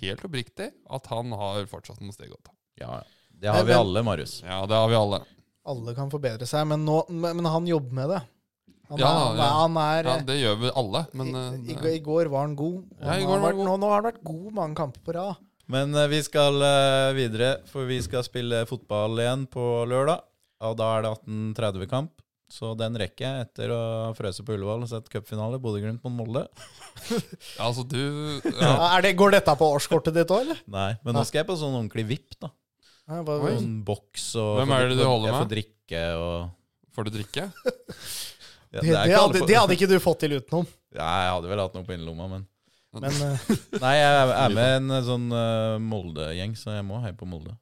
[SPEAKER 2] helt oppriktig at han har fortsatt noen steg å ta.
[SPEAKER 1] Ja, det har vi alle, Marius.
[SPEAKER 2] Ja, det har vi alle.
[SPEAKER 3] Alle kan forbedre seg, men, nå, men men han jobber med det. Han er,
[SPEAKER 2] Ja, ja.
[SPEAKER 3] han er
[SPEAKER 2] Ja, det gjør vi alle, men
[SPEAKER 3] i, i,
[SPEAKER 2] eh,
[SPEAKER 3] I går var han god. og
[SPEAKER 2] Ja, i
[SPEAKER 3] nå,
[SPEAKER 2] går
[SPEAKER 3] har han
[SPEAKER 2] var
[SPEAKER 3] vært,
[SPEAKER 2] han god.
[SPEAKER 3] nå, nå har han vært god mange kamper på rad.
[SPEAKER 1] Men eh, vi skal eh, videre, for vi skal spille fotball igjen på lørdag. Og da er det 18.30-kamp. Så den rekker jeg etter å ha frøse på Ullevål og sett cupfinale Bodø-Glimt mot Molde.
[SPEAKER 2] altså du
[SPEAKER 3] Ja.
[SPEAKER 2] ja,
[SPEAKER 3] Er det, går dette på årskortet ditt òg, eller?
[SPEAKER 1] Nei, men nå skal jeg på sånn ordentlig vipp, da.
[SPEAKER 3] Ja, hva-
[SPEAKER 1] Sånn boks og
[SPEAKER 2] Hvem er det du holder
[SPEAKER 1] Jeg
[SPEAKER 2] med?
[SPEAKER 1] får drikke og
[SPEAKER 2] Får du drikke?
[SPEAKER 3] det,
[SPEAKER 1] ja, er
[SPEAKER 3] det,
[SPEAKER 1] ikke alle
[SPEAKER 3] hadde,
[SPEAKER 1] på-
[SPEAKER 3] det hadde ikke du fått til utenom.
[SPEAKER 1] Nei, jeg hadde vel hatt noe på innerlomma, men
[SPEAKER 3] Men eh,
[SPEAKER 1] Nei, jeg er med en eh, sånn eh, Molde-gjeng, så jeg må heie på Molde.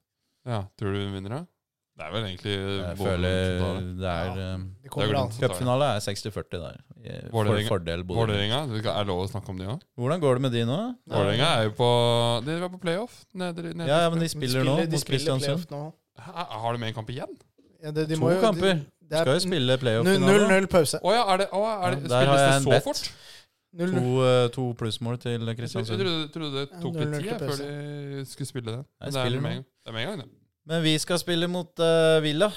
[SPEAKER 2] Ja, Tror du hun vinner, da? Det er vel egentlig
[SPEAKER 1] Jeg
[SPEAKER 2] Vålerenga som tar
[SPEAKER 1] føler
[SPEAKER 2] det.
[SPEAKER 1] det er
[SPEAKER 3] Ja.
[SPEAKER 1] eh,
[SPEAKER 3] det
[SPEAKER 2] Det
[SPEAKER 3] kommer
[SPEAKER 2] er
[SPEAKER 3] an.
[SPEAKER 2] glemt.
[SPEAKER 1] Cupfinale er 60-40 der. Eh, For,
[SPEAKER 2] Vålerenga-
[SPEAKER 1] fordel Bodø.
[SPEAKER 2] Vålerenga? det skal- Er det lov å snakke om de òg?
[SPEAKER 1] Hvordan går det med de nå?
[SPEAKER 2] Vålerenga er jo på De var på playoff. Nede, nede.
[SPEAKER 1] Ja, ja, men de spiller nå mot
[SPEAKER 3] playoff
[SPEAKER 1] Kristiansund.
[SPEAKER 3] nå.
[SPEAKER 2] Hæ, Har de en kamp igjen?
[SPEAKER 3] Ja, det, de
[SPEAKER 1] To
[SPEAKER 3] må jo- de-
[SPEAKER 1] kamper.
[SPEAKER 3] det er
[SPEAKER 1] Skal jo spille playoff-finale.
[SPEAKER 3] 0-0 pause.
[SPEAKER 2] Å ja, er det, å, er det
[SPEAKER 1] Ja, der
[SPEAKER 2] spilles
[SPEAKER 1] har
[SPEAKER 2] det
[SPEAKER 1] jeg en
[SPEAKER 2] så
[SPEAKER 1] bet. sånn
[SPEAKER 2] fort?
[SPEAKER 1] To,
[SPEAKER 3] 0-0.
[SPEAKER 1] eh, to plussmål til
[SPEAKER 2] Jeg trodde,
[SPEAKER 1] Kristiansund.
[SPEAKER 2] jeg trodde det tok
[SPEAKER 3] Ja,
[SPEAKER 2] litt
[SPEAKER 3] 0-0
[SPEAKER 2] tid jeg,
[SPEAKER 3] til
[SPEAKER 2] før
[SPEAKER 3] pause.
[SPEAKER 2] de skulle spille det.
[SPEAKER 1] Nei,
[SPEAKER 2] Men det er
[SPEAKER 1] spiller
[SPEAKER 2] med
[SPEAKER 1] nå.
[SPEAKER 2] en gang. Det er med en gang, det.
[SPEAKER 1] Men vi skal spille mot eh, Villa.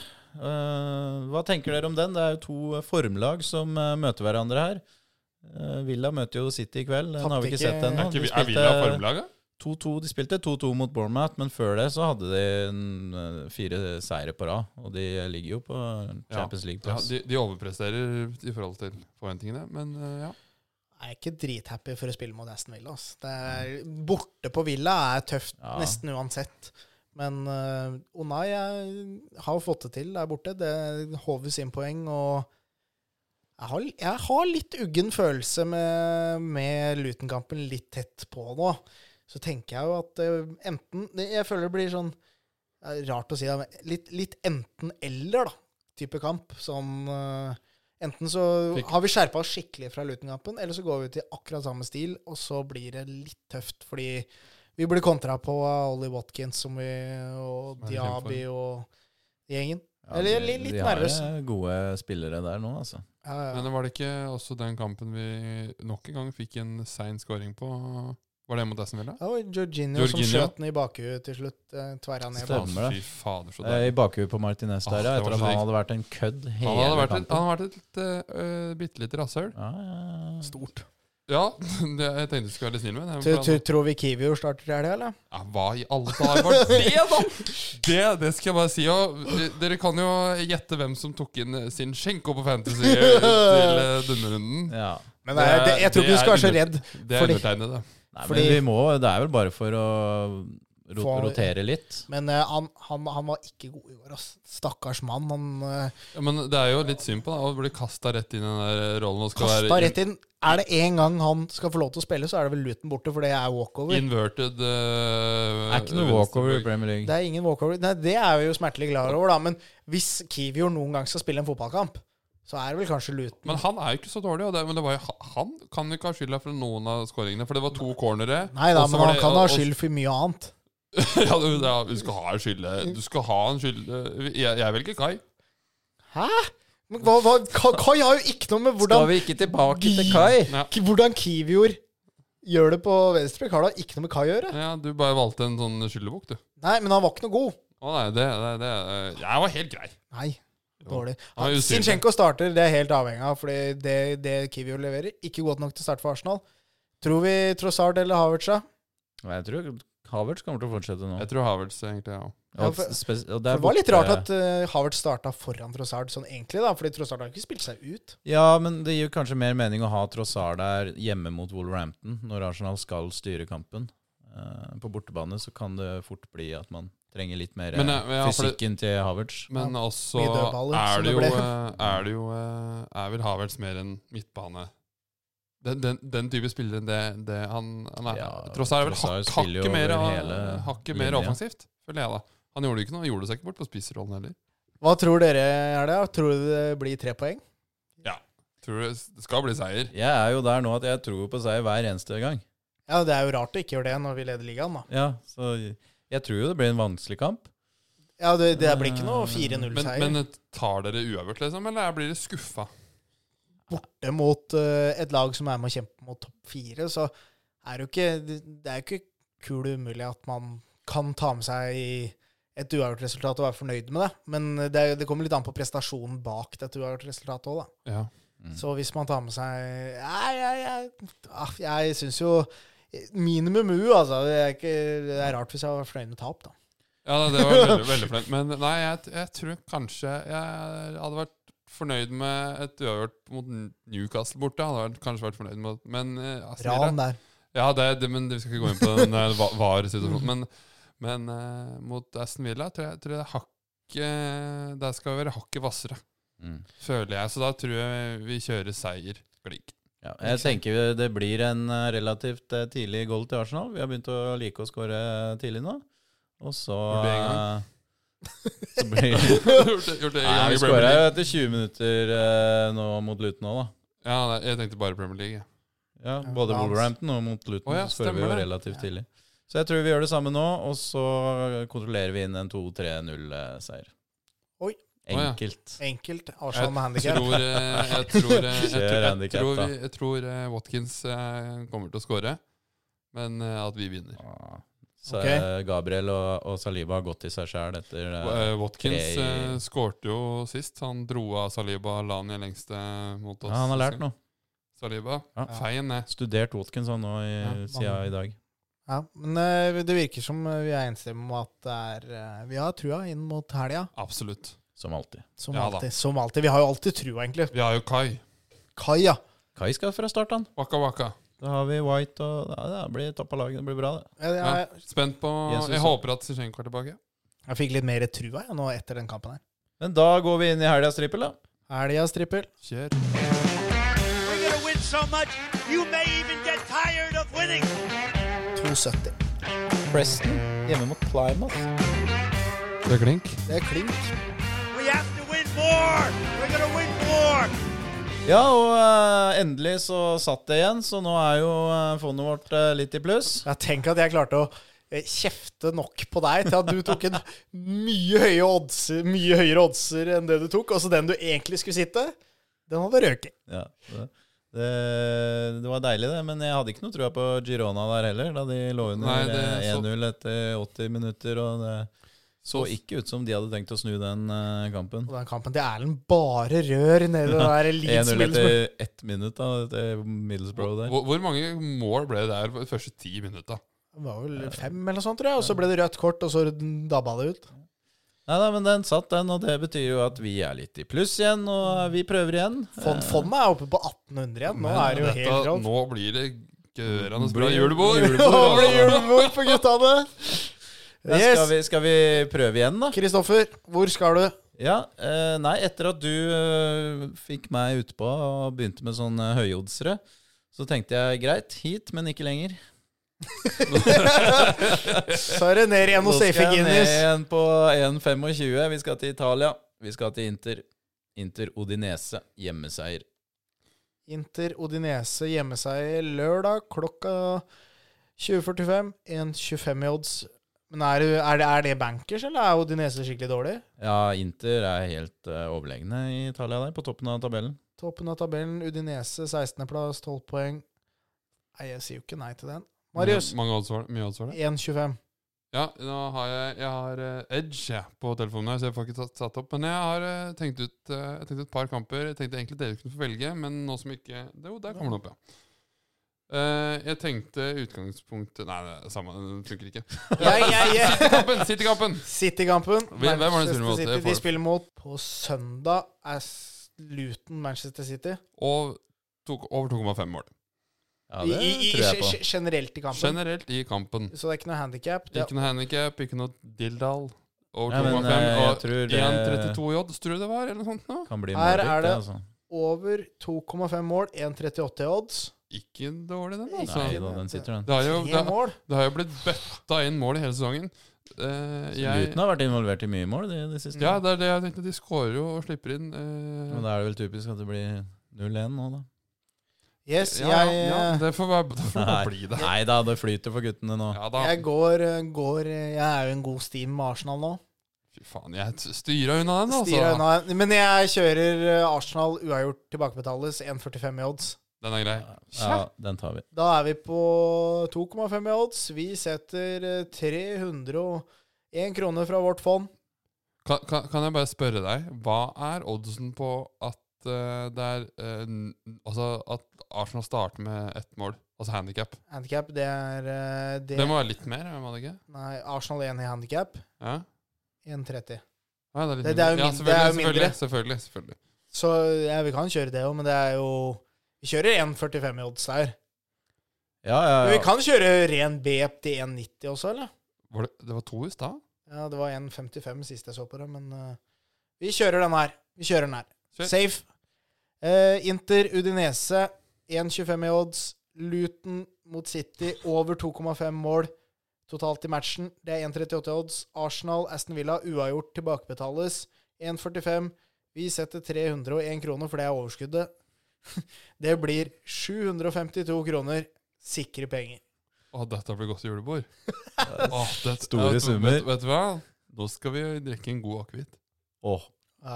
[SPEAKER 1] Eh, hva tenker dere om den? Det er jo to eh, formlag som eh, møter hverandre her. Eh, Villa møter jo City i kveld. Den har vi
[SPEAKER 3] Tapte
[SPEAKER 1] ikke
[SPEAKER 3] ikke-
[SPEAKER 1] sett ennå.
[SPEAKER 2] Er,
[SPEAKER 1] De
[SPEAKER 2] ikke, vi- er Villa
[SPEAKER 1] spilte
[SPEAKER 2] formlaget?
[SPEAKER 1] 2-2. De spilte 2-2 mot Bournemouth, men før det så hadde de en, eh, fire seire på rad. Og de eh, ligger jo på Champions
[SPEAKER 2] Ja,
[SPEAKER 1] League-plass.
[SPEAKER 2] de, de overpresterer i forhold til forventningene, men eh, ja.
[SPEAKER 3] Jeg er ikke drithappy for å spille mot Aston Villa. ass. Det er, borte på Villa er tøft
[SPEAKER 1] Ja.
[SPEAKER 3] nesten uansett. Men uh, Onai jeg har fått det til der borte. Det håver sin poeng. Og jeg har, jeg har litt uggen følelse med, med Luton-kampen litt tett på nå. Så tenker jeg jo at eh, enten det- Jeg føler det blir sånn det er Rart å si det, men litt, litt enten-eller, da. Type kamp. Sånn eh, Enten så
[SPEAKER 2] Fikk-
[SPEAKER 3] har vi skjerpa oss skikkelig fra Luton-kampen, eller så går vi til akkurat samme stil, og så blir det litt tøft fordi vi blir kontra på av Ollie Watkins som vi, og
[SPEAKER 2] Som er i
[SPEAKER 3] Diaby og gjengen.
[SPEAKER 1] Ja,
[SPEAKER 3] Eller
[SPEAKER 1] de-
[SPEAKER 3] litt- litt
[SPEAKER 1] de har
[SPEAKER 3] nervøs.
[SPEAKER 1] eh, gode spillere der nå, altså.
[SPEAKER 3] Ja, ja.
[SPEAKER 2] Men var det ikke også den kampen vi nok en gang fikk en sein scoring på? Var det mot Aston Villa?
[SPEAKER 3] Ja, og Jorginho som
[SPEAKER 2] Jorginho.
[SPEAKER 3] skjøt den i bakhuet til slutt. eh, Tverra ned.
[SPEAKER 1] Stemmer.
[SPEAKER 2] Altså,
[SPEAKER 1] det.
[SPEAKER 2] Fy fader, så
[SPEAKER 1] Eh, I
[SPEAKER 2] deilig.
[SPEAKER 1] bakhuet på Martinez
[SPEAKER 2] Ah,
[SPEAKER 1] der, ja,
[SPEAKER 2] det var
[SPEAKER 1] etter
[SPEAKER 2] så
[SPEAKER 1] at han
[SPEAKER 2] sykt.
[SPEAKER 1] hadde vært en kødd hele
[SPEAKER 2] Han hadde vært et,
[SPEAKER 1] kampen.
[SPEAKER 2] han hadde vært et uh, bitte lite rasshøl.
[SPEAKER 1] Ja, ja, ja.
[SPEAKER 3] Stort.
[SPEAKER 2] Ja, det, jeg tenkte du skulle være litt snill med den.
[SPEAKER 3] Tror- tror- Tror vi Kiwi starter i helga, eller?
[SPEAKER 2] sånn, Ja, hva i alle dager var det, da?! Det, det skal jeg bare si. Og dere kan jo gjette hvem som tok inn sin skjenko på Fantasy til eh, denne runden.
[SPEAKER 1] ja.
[SPEAKER 3] Men
[SPEAKER 2] Det
[SPEAKER 3] jeg,
[SPEAKER 2] er-
[SPEAKER 3] det, jeg tror
[SPEAKER 2] det
[SPEAKER 3] ikke du
[SPEAKER 2] er
[SPEAKER 3] skal være så
[SPEAKER 2] under-
[SPEAKER 3] redd.
[SPEAKER 2] Det er
[SPEAKER 3] Fordi-
[SPEAKER 2] undertegnede.
[SPEAKER 1] Nei,
[SPEAKER 3] Fordi-
[SPEAKER 1] men vi må, det er vel bare for å ro
[SPEAKER 3] Få-
[SPEAKER 1] rotere litt.
[SPEAKER 3] Men eh, han, han, han var ikke god i går, ass. Stakkars mann. Han uh,
[SPEAKER 2] Ja, men det er jo litt synd på deg å bli kasta rett inn i den der rollen og skal
[SPEAKER 3] kasta
[SPEAKER 2] være
[SPEAKER 3] rett inn. Er det én gang han skal få lov til å spille, så er det vel Luton borte, for det er
[SPEAKER 2] in
[SPEAKER 3] walkover.
[SPEAKER 2] inverted uh,
[SPEAKER 1] Det er ikke noe walkover i Premier
[SPEAKER 3] Det
[SPEAKER 1] League.
[SPEAKER 3] er ingen walkover. Nei, det er vi jo smertelig glad over, da. Men hvis Kiwior noen gang skal spille en fotballkamp, så er det vel kanskje Luton.
[SPEAKER 2] Men han er jo ikke så dårlig. Og det, men det var jo, ha- han kan jo ikke ha skylda for noen av skåringene, for det var to cornere.
[SPEAKER 3] Nei da,
[SPEAKER 2] og så
[SPEAKER 3] men
[SPEAKER 2] var
[SPEAKER 3] han
[SPEAKER 2] det-
[SPEAKER 3] kan ha
[SPEAKER 2] og- og-
[SPEAKER 3] skyld for mye annet.
[SPEAKER 2] ja, du, ja, du skal ha en skyld. Du skal ha en skyld Jeg, jeg velger Kai.
[SPEAKER 3] Hæ? Men hva, hva, Ka- Kai har jo ikke noe med hvordan,
[SPEAKER 1] vi ikke tilbake
[SPEAKER 3] til
[SPEAKER 1] Kai?
[SPEAKER 2] Ja.
[SPEAKER 3] ki- hvordan Kiwior gjør det på Venstrebekk. Har da ikke noe med Kai å gjøre.
[SPEAKER 2] Ja, du bare valgte en sånn skyldebukk, du.
[SPEAKER 3] Nei, men han var ikke noe god.
[SPEAKER 2] Å nei, det, det, det eh, Jeg var helt grei.
[SPEAKER 3] Nei. Dårlig.
[SPEAKER 2] Han er usynlig.
[SPEAKER 3] Sinchenko starter, det er helt avhengig av, fordi det, det Kiwior leverer, ikke godt nok til start for Arsenal. Tror vi Trossard eller Havertza?
[SPEAKER 1] Jeg tror Havertz kommer til å fortsette nå.
[SPEAKER 2] Jeg tror Havertz egentlig, ja.
[SPEAKER 3] Ja,
[SPEAKER 1] Og
[SPEAKER 3] for-
[SPEAKER 1] spes- og
[SPEAKER 3] Det,
[SPEAKER 1] er
[SPEAKER 3] det var litt
[SPEAKER 1] borte-
[SPEAKER 3] rart at uh, Havertz starta foran Trossard sånn egentlig, da, fordi Trossard har ikke spilt seg ut.
[SPEAKER 1] Ja, men det gir jo kanskje mer mening å ha Trossard der hjemme mot Wolverhampton, når Arsenal skal styre kampen. Eh, På bortebane så kan det fort bli at man Trenger litt mer
[SPEAKER 2] Men,
[SPEAKER 1] eh,
[SPEAKER 2] eh, ja, for det-
[SPEAKER 1] fysikken til Havertz.
[SPEAKER 2] Men også
[SPEAKER 3] mye dødballer,
[SPEAKER 2] er det
[SPEAKER 3] som det
[SPEAKER 2] jo,
[SPEAKER 3] ble.
[SPEAKER 2] eh, er det jo eh, Er vel Havertz mer enn midtbane? Den, den, den type spiller enn det, det han, han er.
[SPEAKER 1] Ja,
[SPEAKER 2] tross alt er det vel
[SPEAKER 1] Trossard
[SPEAKER 2] hak,
[SPEAKER 1] spiller jo
[SPEAKER 2] hakket mer,
[SPEAKER 1] over hele
[SPEAKER 2] hakke mer
[SPEAKER 1] linja.
[SPEAKER 2] offensivt, føler jeg da. Han gjorde ikke noe, han gjorde seg ikke bort på spisserollen heller.
[SPEAKER 3] Hva tror dere er det? Tror du det blir tre poeng?
[SPEAKER 2] Tror det, s- det skal bli seier.
[SPEAKER 1] Jeg er jo der nå at jeg tror på seier hver eneste gang.
[SPEAKER 3] Ja, Det er jo rart å ikke gjøre det når vi leder ligaen, da.
[SPEAKER 1] Ja, så jeg tror jo det blir en vanskelig kamp.
[SPEAKER 3] Ja, Det, det blir ikke noe
[SPEAKER 2] Mm, Men,
[SPEAKER 3] 4-0-seier
[SPEAKER 2] men eh, tar dere uavgjort, liksom, eller blir dere skuffa?
[SPEAKER 3] borte mot eh, et lag som er med å kjempe mot topp fire. Så er det jo ikke Det det er jo ikke kul umulig at man kan ta med seg et uavgjort resultat og være fornøyd med det. Men det, er- det kommer litt an på prestasjonen bak dette uavgjort resultatet òg, da.
[SPEAKER 2] Ja.
[SPEAKER 3] Så hvis man tar med seg Nei, jeg, jeg, ah, jeg syns jo Minimum U, altså. Det er, ikke, det er rart hvis jeg var fornøyd med tap, da.
[SPEAKER 2] Ja, da, det var veldig, veldig flaut. Men nei, jeg, jeg tror kanskje jeg hadde vært fornøyd med et uavgjort mot Newcastle borte. Hadde vært, kanskje vært fornøyd med Men eh, Aston Villa-
[SPEAKER 3] Ran der.
[SPEAKER 2] Ja, det, det, men vi skal ikke gå inn på den der va- VAR-situasjonen. Men, men eh, mot Aston Villa tror jeg, tror jeg det er hakket Der skal vi være hakket hvassere,
[SPEAKER 1] Mm.
[SPEAKER 2] føler jeg. Så da tror jeg vi kjører seier. Klikk.
[SPEAKER 1] Ja, jeg tenker det blir en eh, relativt eh, tidlig goal til Arsenal. Vi har begynt å like å skåre tidlig nå. Og så
[SPEAKER 2] Gjorde det en gang?
[SPEAKER 1] eh, Så blir det
[SPEAKER 2] gjort det, gjort det en
[SPEAKER 1] Nei,
[SPEAKER 2] gang i Premier
[SPEAKER 1] vi skåra jo
[SPEAKER 2] League.
[SPEAKER 1] etter 20 minutter eh, nå mot Luton òg, da.
[SPEAKER 2] Ja, nei, jeg tenkte bare Premier League. jeg.
[SPEAKER 1] Ja, både
[SPEAKER 3] Ja, hans.
[SPEAKER 1] Wolverhampton og mot Luton
[SPEAKER 2] Å ja,
[SPEAKER 1] så skårer vi
[SPEAKER 2] stemmer
[SPEAKER 1] jo
[SPEAKER 2] det.
[SPEAKER 1] relativt tidlig. Så jeg tror vi gjør det samme nå, og så kontrollerer vi inn en 2-3-0-seier.
[SPEAKER 3] Oi.
[SPEAKER 2] Å ja.
[SPEAKER 1] Enkelt.
[SPEAKER 3] Enkelt. Arsenal med
[SPEAKER 2] Jeg tror,
[SPEAKER 3] handikap.
[SPEAKER 2] eh, jeg tror, eh, jeg
[SPEAKER 1] Kjør
[SPEAKER 2] tror, jeg
[SPEAKER 1] handicap,
[SPEAKER 2] tror,
[SPEAKER 1] da.
[SPEAKER 2] vi- jeg tror eh, Watkins eh, kommer til å skåre, men eh, at vi vinner.
[SPEAKER 1] Ah, Så
[SPEAKER 3] Ok.
[SPEAKER 1] eh, Gabriel og, og Saliba har gått i seg sjæl etter eh,
[SPEAKER 2] Eh, Watkins
[SPEAKER 1] tre i-
[SPEAKER 2] eh, skårte jo sist. Han dro av Saliba Lani lengste mot oss.
[SPEAKER 1] ja, Han har lært noe.
[SPEAKER 2] Saliba. eh.
[SPEAKER 1] Ja.
[SPEAKER 2] Feien ned.
[SPEAKER 1] Studert Watkins han nå i,
[SPEAKER 2] Ja,
[SPEAKER 1] siden i dag.
[SPEAKER 3] Ja, men eh, det virker som eh, vi er enstemmige om at det er eh, Vi har trua inn mot helga,
[SPEAKER 2] Absolutt.
[SPEAKER 1] Som alltid.
[SPEAKER 3] som,
[SPEAKER 2] Ja da.
[SPEAKER 3] alltid, som alltid. Vi har jo alltid trua, egentlig.
[SPEAKER 2] Vi har jo Kai.
[SPEAKER 3] Kai, ja.
[SPEAKER 1] Kai skal fra start, han.
[SPEAKER 2] Waka waka.
[SPEAKER 1] Da har vi White og ja, Det blir topp av laget. Det blir bra, det.
[SPEAKER 3] Jeg, jeg,
[SPEAKER 2] Spent på
[SPEAKER 1] Jesus,
[SPEAKER 2] Jeg
[SPEAKER 1] ja.
[SPEAKER 2] håper at Zizhenko er tilbake.
[SPEAKER 3] jeg fikk litt mer trua jeg, nå etter den kampen her.
[SPEAKER 1] Men da går vi inn i helgas trippel, da.
[SPEAKER 3] Helgas trippel.
[SPEAKER 2] Kjør.
[SPEAKER 4] We're going to win so much, you may even get tired of winning.
[SPEAKER 3] 2,70.
[SPEAKER 1] Preston hjemme mot Plymouth.
[SPEAKER 2] Det er klink.
[SPEAKER 3] Det er klink.
[SPEAKER 4] We have to win more. We're going to win more.
[SPEAKER 1] Ja, og eh, endelig så satt det igjen, så nå er jo eh, fondet vårt eh, litt i pluss.
[SPEAKER 3] Jeg tenker at jeg klarte å eh, kjefte nok på deg til at du tok en mye, høye oddser, mye høyere oddser enn det du tok. Og så den du egentlig skulle sitte, den hadde røket.
[SPEAKER 1] Ja, det, det, det var deilig, det. Men jeg hadde ikke noe trua på Girona der heller, da de lå
[SPEAKER 2] Nei,
[SPEAKER 1] under
[SPEAKER 2] det
[SPEAKER 1] eh,
[SPEAKER 2] så-
[SPEAKER 1] 1-0 etter 80 minutter. Og det så ikke ut som de hadde tenkt å snu den eh, kampen.
[SPEAKER 3] Og den kampen til Erlend bare rør nedi det der
[SPEAKER 1] 1-0
[SPEAKER 3] elitespillet.
[SPEAKER 1] etter ett minutt da, etter Middlesbrough der.
[SPEAKER 2] Hvor, hvor mange mål ble det der på de første ti minutta?
[SPEAKER 3] Det var vel fem eller noe sånt, tror jeg. Og så ble det rødt kort, og så dabba det ut.
[SPEAKER 1] Nei da, men den satt, den, og det betyr jo at vi er litt i pluss igjen, og vi prøver igjen.
[SPEAKER 3] Fond, fondet er oppe på 1800 igjen. Nå
[SPEAKER 2] Men
[SPEAKER 3] er det jo
[SPEAKER 2] dette-
[SPEAKER 3] helt rått.
[SPEAKER 2] Nå blir det gørende
[SPEAKER 1] Blir
[SPEAKER 2] bra julebord.
[SPEAKER 1] julebord, altså.
[SPEAKER 3] Nå blir det julebord for guttene!
[SPEAKER 1] Eh,
[SPEAKER 3] Yes!
[SPEAKER 1] skal, vi, skal vi prøve igjen, da?
[SPEAKER 3] Kristoffer, hvor skal du?
[SPEAKER 1] Ja, eh, nei, etter at du eh, fikk meg utpå og begynte med sånn eh, høyoddsere, så tenkte jeg greit, hit, men ikke lenger.
[SPEAKER 3] Så er det ned igjen
[SPEAKER 1] Nå
[SPEAKER 3] og safe i
[SPEAKER 1] skal jeg ned
[SPEAKER 3] Guinness.
[SPEAKER 1] igjen på 1,25. Vi skal til Italia. Vi skal til Inter. Inter Odinese, hjemmeseier.
[SPEAKER 3] Inter Odinese gjemmer seg lørdag klokka 20.45. 1,25 i odds. Men er, det- er, det, er det bankers, eller er Odinese skikkelig dårlig?
[SPEAKER 1] Ja, Inter er helt eh, overlegne i Italia der, på toppen av tabellen.
[SPEAKER 3] Toppen av tabellen, Udinese 16.-plass, 12 poeng. Nei, jeg sier jo ikke nei til den. Marius,
[SPEAKER 2] Mange odds var det? Mye
[SPEAKER 1] Mm.
[SPEAKER 2] odds var det?
[SPEAKER 3] 1,25.
[SPEAKER 2] Ja, nå har jeg, jeg har eh, Edge jeg, på telefonen her, så jeg får ikke tatt, satt opp. Men jeg har eh, tenkt ut, eh, jeg tenkte ut et par kamper. Jeg tenkte egentlig dere kunne få velge, men nå som ikke det- Jo, der kommer den opp, ja. Eh, jeg tenkte utgangspunktet Nei, det er samme, den funker ikke.
[SPEAKER 3] Jeg, jeg, jeg.
[SPEAKER 2] Kampen! City-kampen!
[SPEAKER 3] City-kampen.
[SPEAKER 2] Hvem- hvem er det de spiller mot?
[SPEAKER 3] Manchester
[SPEAKER 2] Jeg
[SPEAKER 3] City,
[SPEAKER 2] får-
[SPEAKER 3] de spiller mot På søndag er s- Luton Manchester City.
[SPEAKER 2] Og tok over 2,5 mål.
[SPEAKER 1] Ja,
[SPEAKER 3] I,
[SPEAKER 1] det
[SPEAKER 3] i,
[SPEAKER 1] tror jeg
[SPEAKER 3] i,
[SPEAKER 1] på.
[SPEAKER 3] ge- generelt i kampen.
[SPEAKER 2] Generelt i kampen.
[SPEAKER 3] Så det er ikke noe handikap. Det,
[SPEAKER 2] Ikke noe handikap, ikke noe dilldall. Over
[SPEAKER 1] Ja, men,
[SPEAKER 2] 2,5
[SPEAKER 1] eh, jeg
[SPEAKER 2] og
[SPEAKER 1] tror det-
[SPEAKER 2] 1,32 J, tror du det var? Eller noe sånt nå?
[SPEAKER 1] Kan bli
[SPEAKER 3] Her
[SPEAKER 1] målrikt,
[SPEAKER 3] er
[SPEAKER 1] det,
[SPEAKER 3] det-
[SPEAKER 1] altså.
[SPEAKER 3] Over 2,5 mål, 1,38 i odds.
[SPEAKER 2] Ikke dårlig, den.
[SPEAKER 3] Ikke
[SPEAKER 2] altså.
[SPEAKER 1] Nei da, den sitter, den.
[SPEAKER 2] Det har jo,
[SPEAKER 3] Tre
[SPEAKER 2] det,
[SPEAKER 3] mål.
[SPEAKER 2] det har jo blitt bøtta inn mål i hele sesongen. Eh, jeg,
[SPEAKER 1] Luton har vært involvert i mye mål de, de siste
[SPEAKER 2] ja, det er det jeg tenkte. De skårer jo og slipper inn. eh,
[SPEAKER 1] Men da er det vel typisk at det blir 0-1 nå, da.
[SPEAKER 3] Yes,
[SPEAKER 2] ja,
[SPEAKER 3] jeg, eh,
[SPEAKER 2] ja, det får være det får bare bli det.
[SPEAKER 1] Nei da, det flyter for guttene nå.
[SPEAKER 2] Ja da.
[SPEAKER 3] jeg går, eh, går Jeg er jo en god steam med Arsenal nå.
[SPEAKER 2] Fy faen, jeg styra unna den, altså.
[SPEAKER 3] Styrer unna. Men jeg kjører eh, Arsenal uavgjort tilbakebetales, 1,45 i odds.
[SPEAKER 2] Den er grei.
[SPEAKER 1] Ja, den tar vi.
[SPEAKER 3] Da er vi på 2,5 i odds. Vi setter eh, 301 kroner fra vårt fond.
[SPEAKER 2] Kan, kan, kan jeg bare spørre deg, hva er oddsen på at eh, det er eh, n- Altså at Arsenal starter med ett mål, altså handikap?
[SPEAKER 3] Handicap, det er eh, det,
[SPEAKER 2] Det må være litt mer, må det ikke?
[SPEAKER 3] Nei, Arsenal 1 i handicap.
[SPEAKER 2] Ja? Ja, det,
[SPEAKER 3] 1,30.
[SPEAKER 2] er litt
[SPEAKER 3] Det- det er jo
[SPEAKER 2] mindre. ja,
[SPEAKER 3] min- det
[SPEAKER 2] selvfølgelig,
[SPEAKER 3] er jo mindre.
[SPEAKER 2] Selvfølgelig, selvfølgelig, selvfølgelig.
[SPEAKER 3] Så ja, vi kan kjøre det òg, men det er jo Vi kjører 1,45 i odds der.
[SPEAKER 1] Ja, ja,
[SPEAKER 3] Men vi
[SPEAKER 1] ja.
[SPEAKER 3] kan kjøre ren B til 1,90 også, eller?
[SPEAKER 2] Var det, det var to i stad?
[SPEAKER 3] Ja, det var 1,55 sist jeg så på det, men eh, vi kjører den her. Vi kjører den her.
[SPEAKER 2] Kjør.
[SPEAKER 3] Safe. Eh, Inter Udinese 1,25 i odds. Luton mot City over 2,5 mål totalt i matchen. Det er 1,38 i odds. Arsenal Aston Villa uavgjort tilbakebetales. 1,45. Vi setter 301 kroner, for det er overskuddet. Det blir 752 kroner. Sikre penger.
[SPEAKER 2] Å, dette blir godt julebord. Å, det,
[SPEAKER 1] Store
[SPEAKER 2] vet, du-
[SPEAKER 1] summer.
[SPEAKER 2] Vet, vet du hva? Nå skal vi drikke en god akevitt.
[SPEAKER 1] Åh,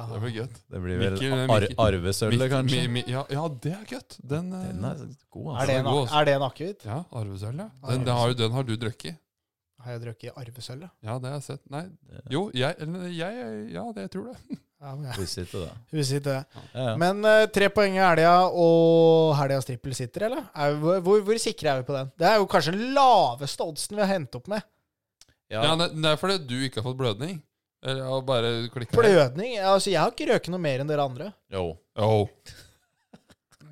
[SPEAKER 2] Det blir gøy.
[SPEAKER 1] det blir vel
[SPEAKER 2] Mikkel-
[SPEAKER 1] ar
[SPEAKER 2] Mikkel-
[SPEAKER 1] arvesølvet, kanskje.
[SPEAKER 2] ja, ja, det er gøy. Den, eh,
[SPEAKER 1] Den er god,
[SPEAKER 3] Er
[SPEAKER 1] altså.
[SPEAKER 3] det en,
[SPEAKER 2] god, altså.
[SPEAKER 3] er det en akevitt?
[SPEAKER 2] Ja, arvesølv, ja. Den, den, har, jo- den har du drukket.
[SPEAKER 3] Har jeg drukket arvesølv? ja?
[SPEAKER 2] Ja, det har jeg sett. Nei, jo, jeg, eller, jeg Ja, det jeg tror det.
[SPEAKER 3] Ja, men jeg
[SPEAKER 1] Pussete, da.
[SPEAKER 3] Huset det.
[SPEAKER 1] Ja, ja.
[SPEAKER 3] Men eh, tre poeng i helga, og helgas trippel sitter, eller? Er, vi- hvor, hvor, hvor sikre er vi på den? Det er jo kanskje den laveste oddsen vi har hentet opp med.
[SPEAKER 1] Ja,
[SPEAKER 2] Ja, det, det er fordi du ikke har fått blødning. Eller ja, bare klikka
[SPEAKER 3] Blødning? Altså, jeg har ikke røket noe mer enn dere andre.
[SPEAKER 1] jo.
[SPEAKER 2] Oh.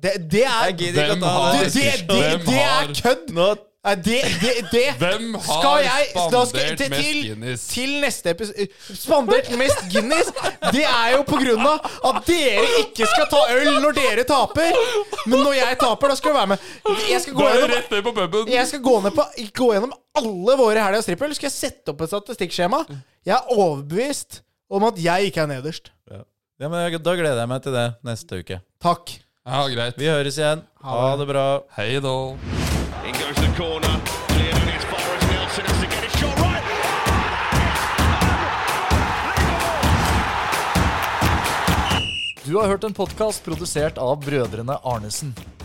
[SPEAKER 3] Det, det er
[SPEAKER 1] Jeg
[SPEAKER 3] du,
[SPEAKER 1] gidder ikke
[SPEAKER 2] Hvem
[SPEAKER 1] å ta den
[SPEAKER 2] har-
[SPEAKER 3] det,
[SPEAKER 1] diskusjonen.
[SPEAKER 3] det,
[SPEAKER 2] Hvem
[SPEAKER 3] det
[SPEAKER 2] har-
[SPEAKER 3] er kødd! Nei, Det, det, det
[SPEAKER 2] Hvem har
[SPEAKER 3] Skal jeg- da skal-
[SPEAKER 2] spandert
[SPEAKER 3] til-
[SPEAKER 2] mest
[SPEAKER 3] til-
[SPEAKER 2] Guinness?
[SPEAKER 3] til neste episode Spandert mest Guinness! Det er jo på grunn av at dere ikke skal ta øl når dere taper. Men når jeg taper, da skal du være med. Jeg skal
[SPEAKER 2] Du
[SPEAKER 3] gå
[SPEAKER 2] er jo
[SPEAKER 3] gjennom
[SPEAKER 2] rett ned på puben!
[SPEAKER 3] Jeg skal gå, ned på, gå gjennom alle våre helga strippel. Skal jeg sette opp et statistikkskjema? Jeg er overbevist om at jeg ikke er nederst.
[SPEAKER 1] Ja, men jeg- Da gleder jeg meg til det neste uke.
[SPEAKER 3] Takk.
[SPEAKER 2] Ja, greit.
[SPEAKER 1] Vi høres igjen. Ha det bra.
[SPEAKER 2] Hei da.
[SPEAKER 4] In goes the corner, cleared and it's far as Nelson has to get a shot right.
[SPEAKER 5] Du har hørt en podkast produsert av brødrene Arnesen.